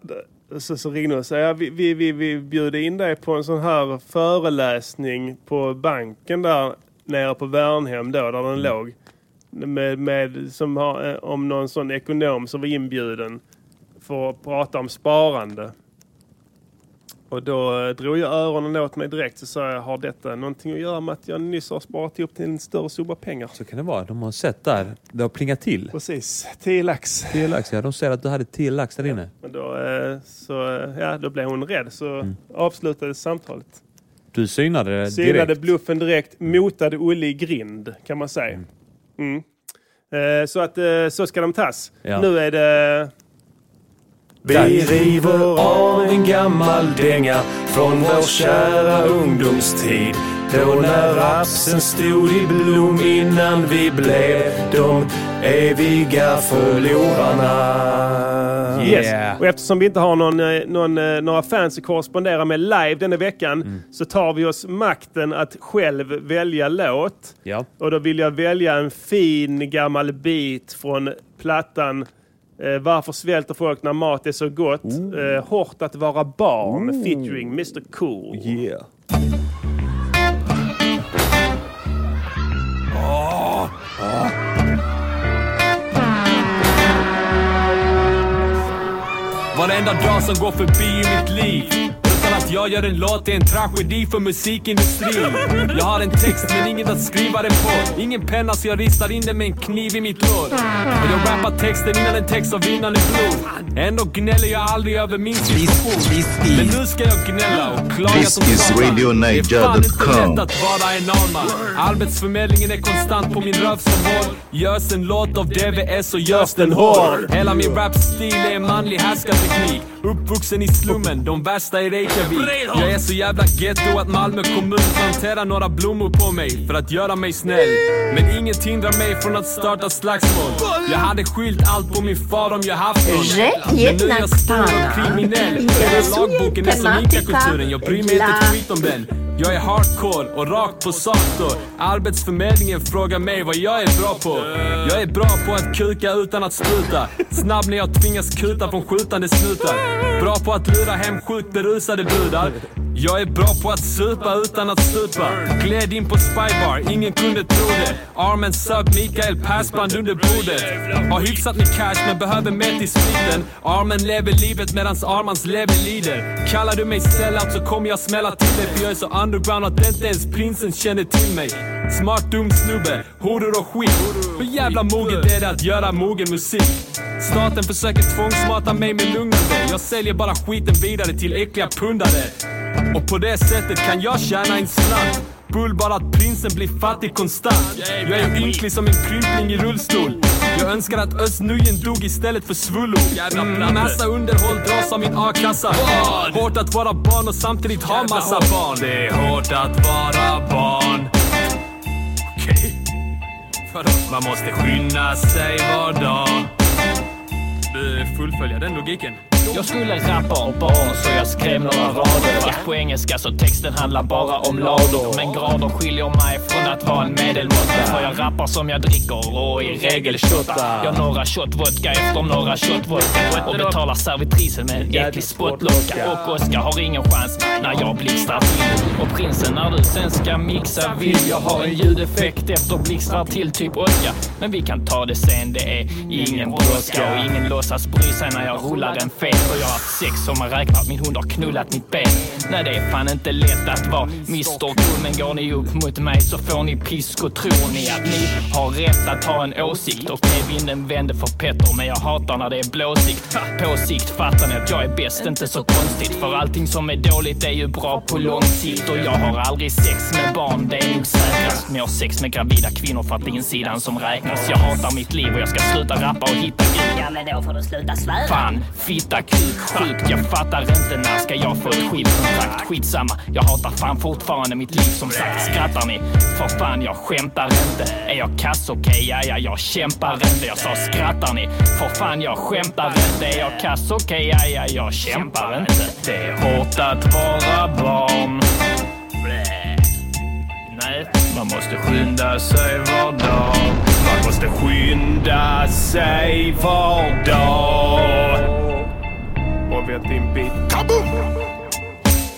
Speaker 1: det, så, så ringde hon och sa ja, vi, vi, vi, vi bjuder in dig på en sån här föreläsning på banken där nere på Värnhem då, där den låg. Med, med, som har, eh, om någon sån ekonom som var inbjuden för att prata om sparande. Och då eh, drog jag öronen åt mig direkt så sa jag, har detta någonting att göra med att jag nyss har sparat ihop till en större summa pengar?
Speaker 4: Så kan det vara. De har sett där. Det har plingat till.
Speaker 1: Precis, 10 lax.
Speaker 4: 10 lax, ja. De säger att du hade 10 lax där inne.
Speaker 1: Men då, eh, så, eh, ja, då blev hon rädd så
Speaker 2: Mm.
Speaker 1: avslutades samtalet.
Speaker 4: Du synade det
Speaker 1: Synade
Speaker 4: direkt.
Speaker 1: bluffen direkt, motade Olle i grind kan man säga. Mm. Eh, Så att eh, så ska de tas.
Speaker 4: Ja.
Speaker 1: Nu är det...
Speaker 2: Vi river av en gammal dänga från vår kära ungdomstid. Då när rapsen stod i blom innan vi blev de eviga förlorarna.
Speaker 1: Yes.
Speaker 4: Yeah.
Speaker 1: Och eftersom vi inte har någon, eh, någon, eh, några fans att korrespondera med live denna veckan
Speaker 2: Mm.
Speaker 1: så tar vi oss makten att själv välja låt.
Speaker 4: Ja.
Speaker 1: Och då vill jag välja en fin gammal bit från plattan eh, Varför svälter folk när mat är så gott? Eh, hårt att vara barn featuring Mr Cool.
Speaker 4: Yeah.
Speaker 2: Varenda dag som går förbi i mitt liv Utan att jag gör en låt är en tragedi för musikindustrin Jag har en text men inget att skriva den på Ingen penna så jag ristar in den med en kniv i mitt lår Och jag rappar texten innan en text av vinnande blod Ändå gnäller jag aldrig över min situation Men nu ska jag gnälla och klaga
Speaker 6: This
Speaker 2: som
Speaker 6: is
Speaker 2: satan. Det är fan
Speaker 6: radionaja.com.
Speaker 2: inte lätt att vara en normal Arbetsförmedlingen är konstant på min röv som hål Görs en låt av DVS och görs den hård Hela min rapstil är manlig härskarteknik Uppvuxen i slummen, de värsta i Reykjavik Jag är så jävla ghetto att Malmö kommun planterar några blommor på mig för att göra mig snäll Men inget hindrar mig från att starta slagsmål Jag hade skylt allt på min far om jag haft någon
Speaker 5: Że
Speaker 2: Men nu är jag
Speaker 5: jednak
Speaker 2: stor
Speaker 5: pana
Speaker 2: och kriminell Hela
Speaker 5: interesuje
Speaker 2: lagboken är som
Speaker 5: tematyka
Speaker 2: Ica-kulturen, jag bryr mig inte ett
Speaker 5: dla
Speaker 2: skit om den. Jag är hardcore och rakt på sak då. Arbetsförmedlingen frågar mig vad jag är bra på. Jag är bra på att kuka utan att spruta. Snabb när jag tvingas kuta från skjutande snutar. Bra på att lura hem sjukt berusade brudar. Jag är bra på att supa utan att stupa. Gled in på spybar, ingen kunde tro det. Armen sub, Mikael Persbrandt under bordet. Har hyfsat med cash men behöver mer till spriten. Armen lever livet medans Armans lever lider. Kallar du mig sellout så kommer jag smälla till dig för jag är så underground att inte ens prinsen känner till mig. Smart dum snubbe, horor och skit. Hur jävla moget är det att göra mogen musik? Staten försöker tvångsmata mig med lugnande. Jag säljer bara skiten vidare till äckliga pundare. Och på det sättet kan jag tjäna en slant Bull bara att prinsen blir fattig konstant Jag är ynklig som en krympling i rullstol Jag önskar att Özz Nujen dog istället för svullor mm, Massa underhåll dras av min a-kassa Hårt att vara barn och samtidigt ha massa barn Det är hårt att vara barn Okej Vadå? Man måste skynda sig var dag Du, Fullfölja den logiken
Speaker 9: Jag skulle rappa om barn så jag skrev några rader Fast på engelska så texten handlar bara om lador Men grader skiljer mig från att vara en medelmåtta För jag rappar som jag dricker och i regel shottar Jag några shot vodka efter några shot vodka Och betalar servitrisen med en äcklig spottlocka Och Oskar har ingen chans när jag blixtrar till Och prinsen när du sen ska mixa vill jag ha en ljudeffekt efter blixtrar till typ Oskar Men vi kan ta det sen, det är ingen brådska och ingen låtsas bry sig när jag rullar en fet För jag har haft sex som man räknat, min hund har knullat mitt ben Nej det är fan inte lätt att vara Mr Cool Men går ni upp mot mig så får ni pisk och tror ni att ni har rätt att ha en åsikt Okej vinden vände för Petter men jag hatar när det är blåsigt På sikt fattar ni att jag är bäst, inte så konstigt För allting som är dåligt är ju bra på lång sikt Och jag har aldrig sex med barn, det är nog säkrast Men jag har sex med gravida kvinnor för att det är insidan som räknas Jag hatar mitt liv och jag ska sluta rappa och hitta Gud
Speaker 5: Ja men då får du sluta svära.
Speaker 9: Fan, fitta
Speaker 1: akut sjuk. Jag fattar inte när ska jag få ett skivkontrakt. Skitsamma, jag hatar fan fortfarande mitt liv som sagt. Skrattar ni? För fan, jag skämtar inte. Är jag kass? Okej, ja, ja, jag kämpar inte. Jag sa skrattar ni? För fan, jag skämtar inte. Är jag kass? Okej, ja, ja, jag kämpar inte. Det är hårt att vara barn. Blä. Nej, man måste skynda sig var dag. Man måste skynda sig var dag.
Speaker 4: Och vet din bit.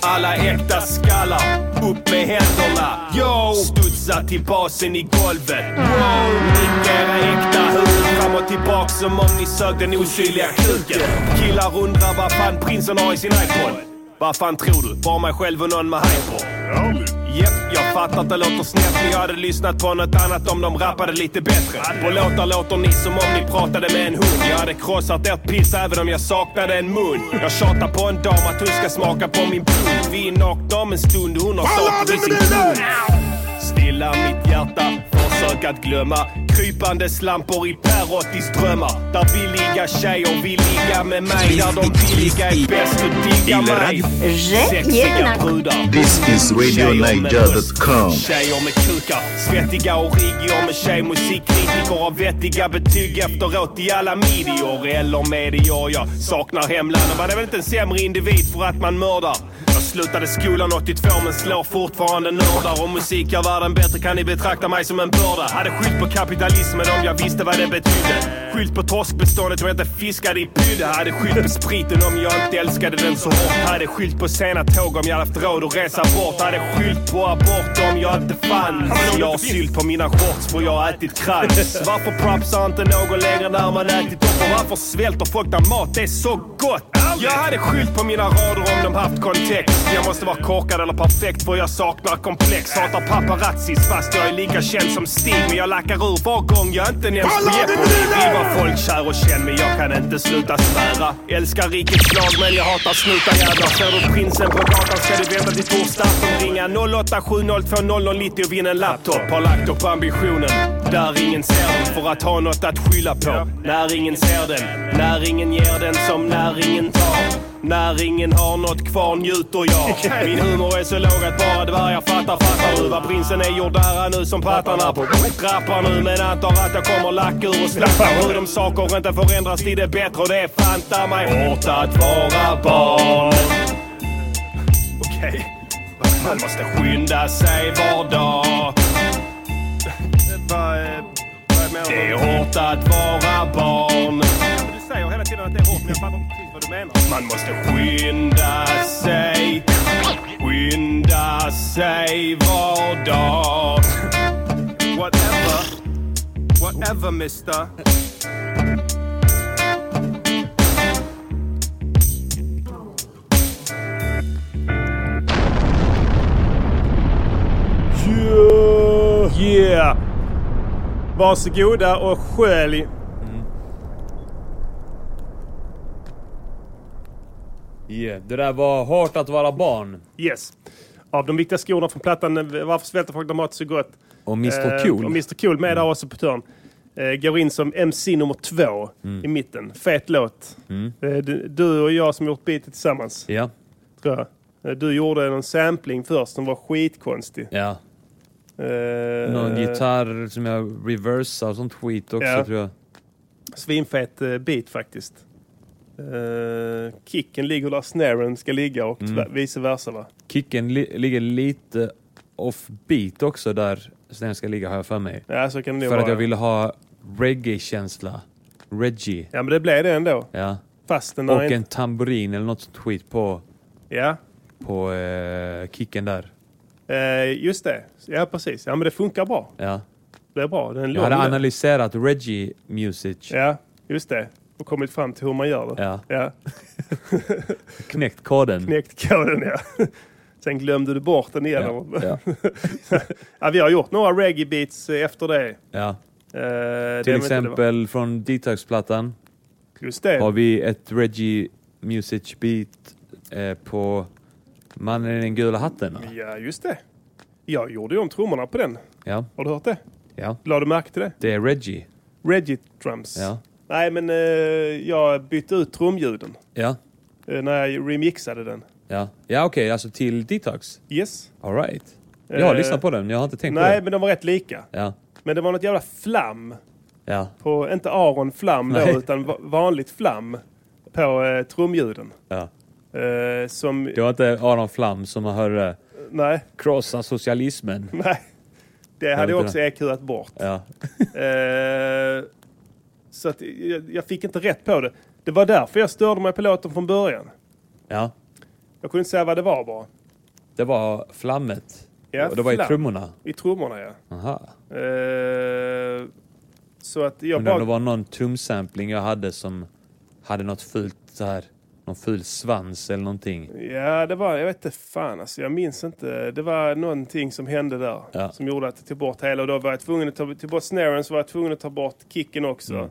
Speaker 1: Alla äkta skallar, upp med händerna. Yo! Studsa till basen i golvet. Wow! Ryck era äkta huvud fram och tillbaks som om ni sög den osynliga kuken. Killar undrar vad fan prinsen har i sin iPod. Vad fan tror du? Bara mig själv och någon med hyper. Japp, jag fattar att det låter snett men jag hade lyssnat på något annat om de rappade lite bättre. På låtar låter ni som om ni pratade med en hund. Jag hade krossat ert piss även om jag saknade en mun. Jag tjatar på en dam att hon ska smaka på min pung. Vi är nakna om en stund och hon har stakat i sin pung. Stilla mitt hjärta, försök att glömma Krypande slampor i Perottis drömmar Där billiga tjejer vill ligga med mig Där de billiga är bäst och diggar mig Sexiga brudar
Speaker 6: This is RadioNiger.com.
Speaker 1: Tjejer med kukar, svettiga och rigier med tjejmusik Kritiker av vettiga betyg efteråt i alla medier eller medier Jag saknar hemlandet, var det väl inte en sämre individ för att man mördar? Jag slutade skolan 82 men slår fortfarande nördar Om musik gör världen bättre kan ni betrakta mig som en börda Hade skylt på kapitalismen om jag visste vad det betydde Skylt på torskbeståndet om jag inte fiskade i pydde Hade skylt på spriten om jag inte älskade den så hårt Hade skylt på sena tåg om jag haft råd att resa bort Hade skylt på abort om jag inte fanns Jag har sylt på mina shorts för jag har ätit krans Varför propsar inte någon längre när man ätit upp? Och varför svälter folk när mat är så gott? Jag hade skylt på mina rader om de haft kontext Jag måste vara korkad eller perfekt för jag saknar komplex Hatar paparazzis fast jag är lika känd som Stig Men jag lackar ur var gång jag inte nämns på Jeopardy Vi var folkkär och känd men jag kan inte sluta svära Älskar rikets lag men jag hatar snutar jävlar Ser du prinsen på gatan ska du vänta till torsdagen Ringa 08702090 och vinna en laptop Har lagt upp ambitionen där ingen ser den för att ha något att skylla på När ingen ser den, när ingen ger den som när ingen tar när ingen har något kvar njuter jag. Min humor är så låg att bara dvärgar fattar. Fattar du vad prinsen är gjord där är nu som pattarna på Rappar nu men antar att jag kommer lack ur och slappa. Hur de saker inte förändras till det bättre och det är fanta mig hårt att vara barn. Okej. Man måste skynda sig var dag.
Speaker 4: Vad, eh, vad menar
Speaker 1: Det är
Speaker 4: du?
Speaker 1: hårt att vara barn.
Speaker 4: Ja, men Du säger hela tiden att det är hårt men jag fattar inte precis vad du menar.
Speaker 1: Man måste skynda sig Skynda sig var dag
Speaker 4: Whatever. Whatever mister. Yeah. yeah! Varsågoda och skölj.
Speaker 2: Yeah. Det där var hårt att vara barn.
Speaker 4: Yes. Av de viktiga skorna från plattan eh, Varför svälter folk när mat är så gott?
Speaker 2: Och Mr
Speaker 4: Eh,
Speaker 2: Cool.
Speaker 4: Och Mr Cool med
Speaker 2: Mm.
Speaker 4: där också på törn. Eh, Går in som MC nummer två
Speaker 2: Mm.
Speaker 4: i mitten. Fet låt. Eh, du- Du och jag som gjort beatet tillsammans,
Speaker 2: Ja,
Speaker 4: tror jag. Eh, Du gjorde en sampling först som var skitkonstig.
Speaker 2: ja.
Speaker 4: Eh,
Speaker 2: Någon gitarr som jag reversar och sånt skit också
Speaker 4: Ja.
Speaker 2: tror jag.
Speaker 4: Svinfet eh, beat faktiskt. Eh, kicken ligger där snaren ska ligga och
Speaker 2: Mm.
Speaker 4: tv- vice versa va?
Speaker 2: Kicken li- ligger lite offbeat också där snön ska ligga har jag för mig.
Speaker 4: Ja, så kan det nog
Speaker 2: För att
Speaker 4: vara.
Speaker 2: jag ville ha reggae-känsla. Reggae.
Speaker 4: Ja, men det blev det ändå.
Speaker 2: Ja.
Speaker 4: Fast den
Speaker 2: Och
Speaker 4: har
Speaker 2: en
Speaker 4: inte...
Speaker 2: tamburin eller något sånt skit på,
Speaker 4: Ja,
Speaker 2: på eh, kicken där.
Speaker 4: eh, just det. Ja, precis. Ja, men det funkar bra.
Speaker 2: Ja.
Speaker 4: Det är bra. Den är
Speaker 2: Jag hade
Speaker 4: lång.
Speaker 2: analyserat reggae music.
Speaker 4: Ja, just det. Och kommit fram till hur man gör det.
Speaker 2: Ja.
Speaker 4: Ja,
Speaker 2: Knäckt koden.
Speaker 4: knäckt koden ja. Sen glömde du bort den
Speaker 2: ja.
Speaker 4: igen. Ja.
Speaker 2: Ja.
Speaker 4: vi har gjort några reggae beats eh, efter det. Eh,
Speaker 2: Ja.
Speaker 4: det
Speaker 2: Till
Speaker 4: är väl inte det var-
Speaker 2: exempel från Detox-plattan
Speaker 4: Just det.
Speaker 2: har vi ett reggae music beat eh, på Mannen i den gula hatten. va?
Speaker 4: Ja, just det. Jag gjorde ju om trummorna på den.
Speaker 2: Ja.
Speaker 4: Har du hört det?
Speaker 2: ja.
Speaker 4: Lade du märke till det?
Speaker 2: Det är reggae.
Speaker 4: Reggae drums.
Speaker 2: Ja.
Speaker 1: Nej, men eh, jag bytte ut trumljuden
Speaker 4: Ja,
Speaker 1: eh, när jag remixade den.
Speaker 4: ja. Ja, okej, alltså till Detox?
Speaker 1: Yes.
Speaker 4: Alright. Jag har
Speaker 1: Eh,
Speaker 4: lyssnat på den, jag har inte tänkt
Speaker 1: Nej,
Speaker 4: på
Speaker 1: men de var rätt lika.
Speaker 4: den. Ja,
Speaker 1: Men det var något jävla flam.
Speaker 4: ja.
Speaker 1: På, inte Aron flam då,
Speaker 4: Nej.
Speaker 1: utan va- vanligt flam på eh, trumljuden.
Speaker 4: ja.
Speaker 1: Eh, som...
Speaker 4: Det var inte Aron Flam som hörde
Speaker 1: Nej,
Speaker 4: krossa socialismen.
Speaker 1: nej. Det hade jag
Speaker 4: inte
Speaker 1: också
Speaker 4: det.
Speaker 1: EQat bort.
Speaker 4: Ja.
Speaker 1: Eh, så att jag, jag fick inte rätt på det. Det var därför jag störde mig på låten från början.
Speaker 4: ja.
Speaker 1: Jag kunde inte säga vad det var bara.
Speaker 4: Det var flammet.
Speaker 1: Ja,
Speaker 4: Och det var i
Speaker 1: flam.
Speaker 4: trummorna.
Speaker 1: I trummorna ja.
Speaker 4: Aha.
Speaker 1: Eh, så att jag
Speaker 4: Undrar om det
Speaker 1: bara...
Speaker 4: var någon trumsampling jag hade som hade något fult så här. Någon ful svans eller någonting.
Speaker 1: Ja, det var... Jag vet inte fan alltså. Jag minns inte. Det var någonting som hände där.
Speaker 4: Ja.
Speaker 1: Som gjorde att jag tog bort hela. Och då var jag tvungen att ta till bort snaren så var jag tvungen att ta bort kicken också.
Speaker 4: Mm.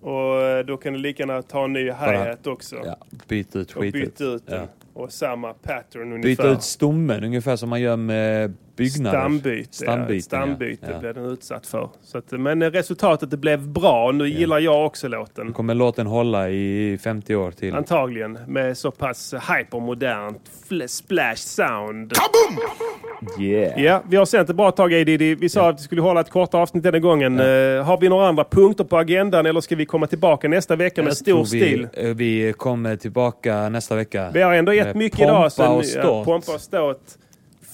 Speaker 1: Och eh, då kan du lika gärna ta en ny hi-hat också.
Speaker 4: Ja, byt ut
Speaker 1: och
Speaker 4: skitet.
Speaker 1: byta ut den.
Speaker 4: ja.
Speaker 1: Och samma pattern ungefär.
Speaker 4: Byta ut stommen ungefär som man gör med byggnader.
Speaker 1: Stambyte,
Speaker 4: Stambyte,
Speaker 1: ja. Stambyte
Speaker 4: ja.
Speaker 1: blev den utsatt för. Så att, men eh, resultatet det blev bra. Nu gillar jag också låten.
Speaker 4: Kommer låten hålla i 50 år till?
Speaker 1: Antagligen med så pass hypermodernt fl- splash sound.
Speaker 4: Yeah.
Speaker 1: Ja, vi har sänt ett bra tag Edidi. Vi sa att vi skulle hålla ett kort avsnitt denna gången. Eh, har vi några andra punkter på agendan eller ska vi komma tillbaka nästa vecka med
Speaker 4: Jag
Speaker 1: stor
Speaker 4: tror
Speaker 1: stil?
Speaker 4: Vi, eh, vi kommer tillbaka nästa vecka.
Speaker 1: Vi har ändå gett
Speaker 4: med
Speaker 1: mycket
Speaker 4: pompa
Speaker 1: idag. sen-
Speaker 4: och
Speaker 1: ja,
Speaker 4: ståt.
Speaker 1: Pompa och ståt.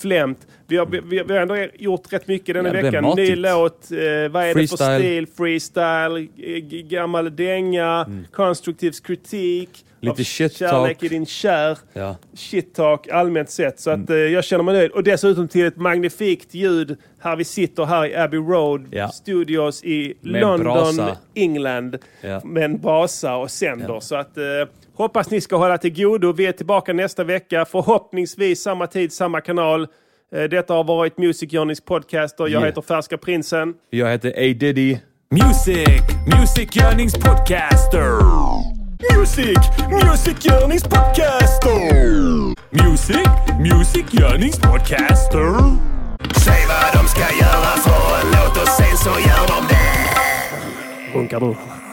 Speaker 1: Flämt. Vi har, vi, vi har ändå gjort rätt mycket denna
Speaker 4: Ja, det blev
Speaker 1: veckan. Ny
Speaker 4: matigt.
Speaker 1: låt, eh, vad är det för
Speaker 4: Freestyle.
Speaker 1: stil? Freestyle, eh, g- gammal dänga, konstruktiv kritik.
Speaker 4: Mm. Lite
Speaker 1: av
Speaker 4: shit talk.
Speaker 1: Kärlek i din kär.
Speaker 4: Ja. Mm.
Speaker 1: Shit talk allmänt sett. Så att, eh, jag känner mig nöjd. Och dessutom till ett magnifikt ljud här vi sitter här i Abbey Road
Speaker 4: Ja.
Speaker 1: Studios i
Speaker 4: Med
Speaker 1: London,
Speaker 4: brasa.
Speaker 1: England
Speaker 4: Ja.
Speaker 1: med en brasa och sänder. Så att, eh, hoppas ni ska hålla till godo. Vi är tillbaka nästa vecka. Förhoppningsvis samma tid, samma kanal. Eh, detta har varit Music Journeys podcaster. Jag
Speaker 4: Yeah.
Speaker 1: heter Färska Prinsen.
Speaker 4: Jag heter A. Diddy.
Speaker 2: Music, Music Yearnings Podcaster. Music, Music Yearnings Podcaster. Music, Music Yearnings Podcaster. Säg vad de ska göra för en låt och sen så gör de det.
Speaker 1: Runkar du?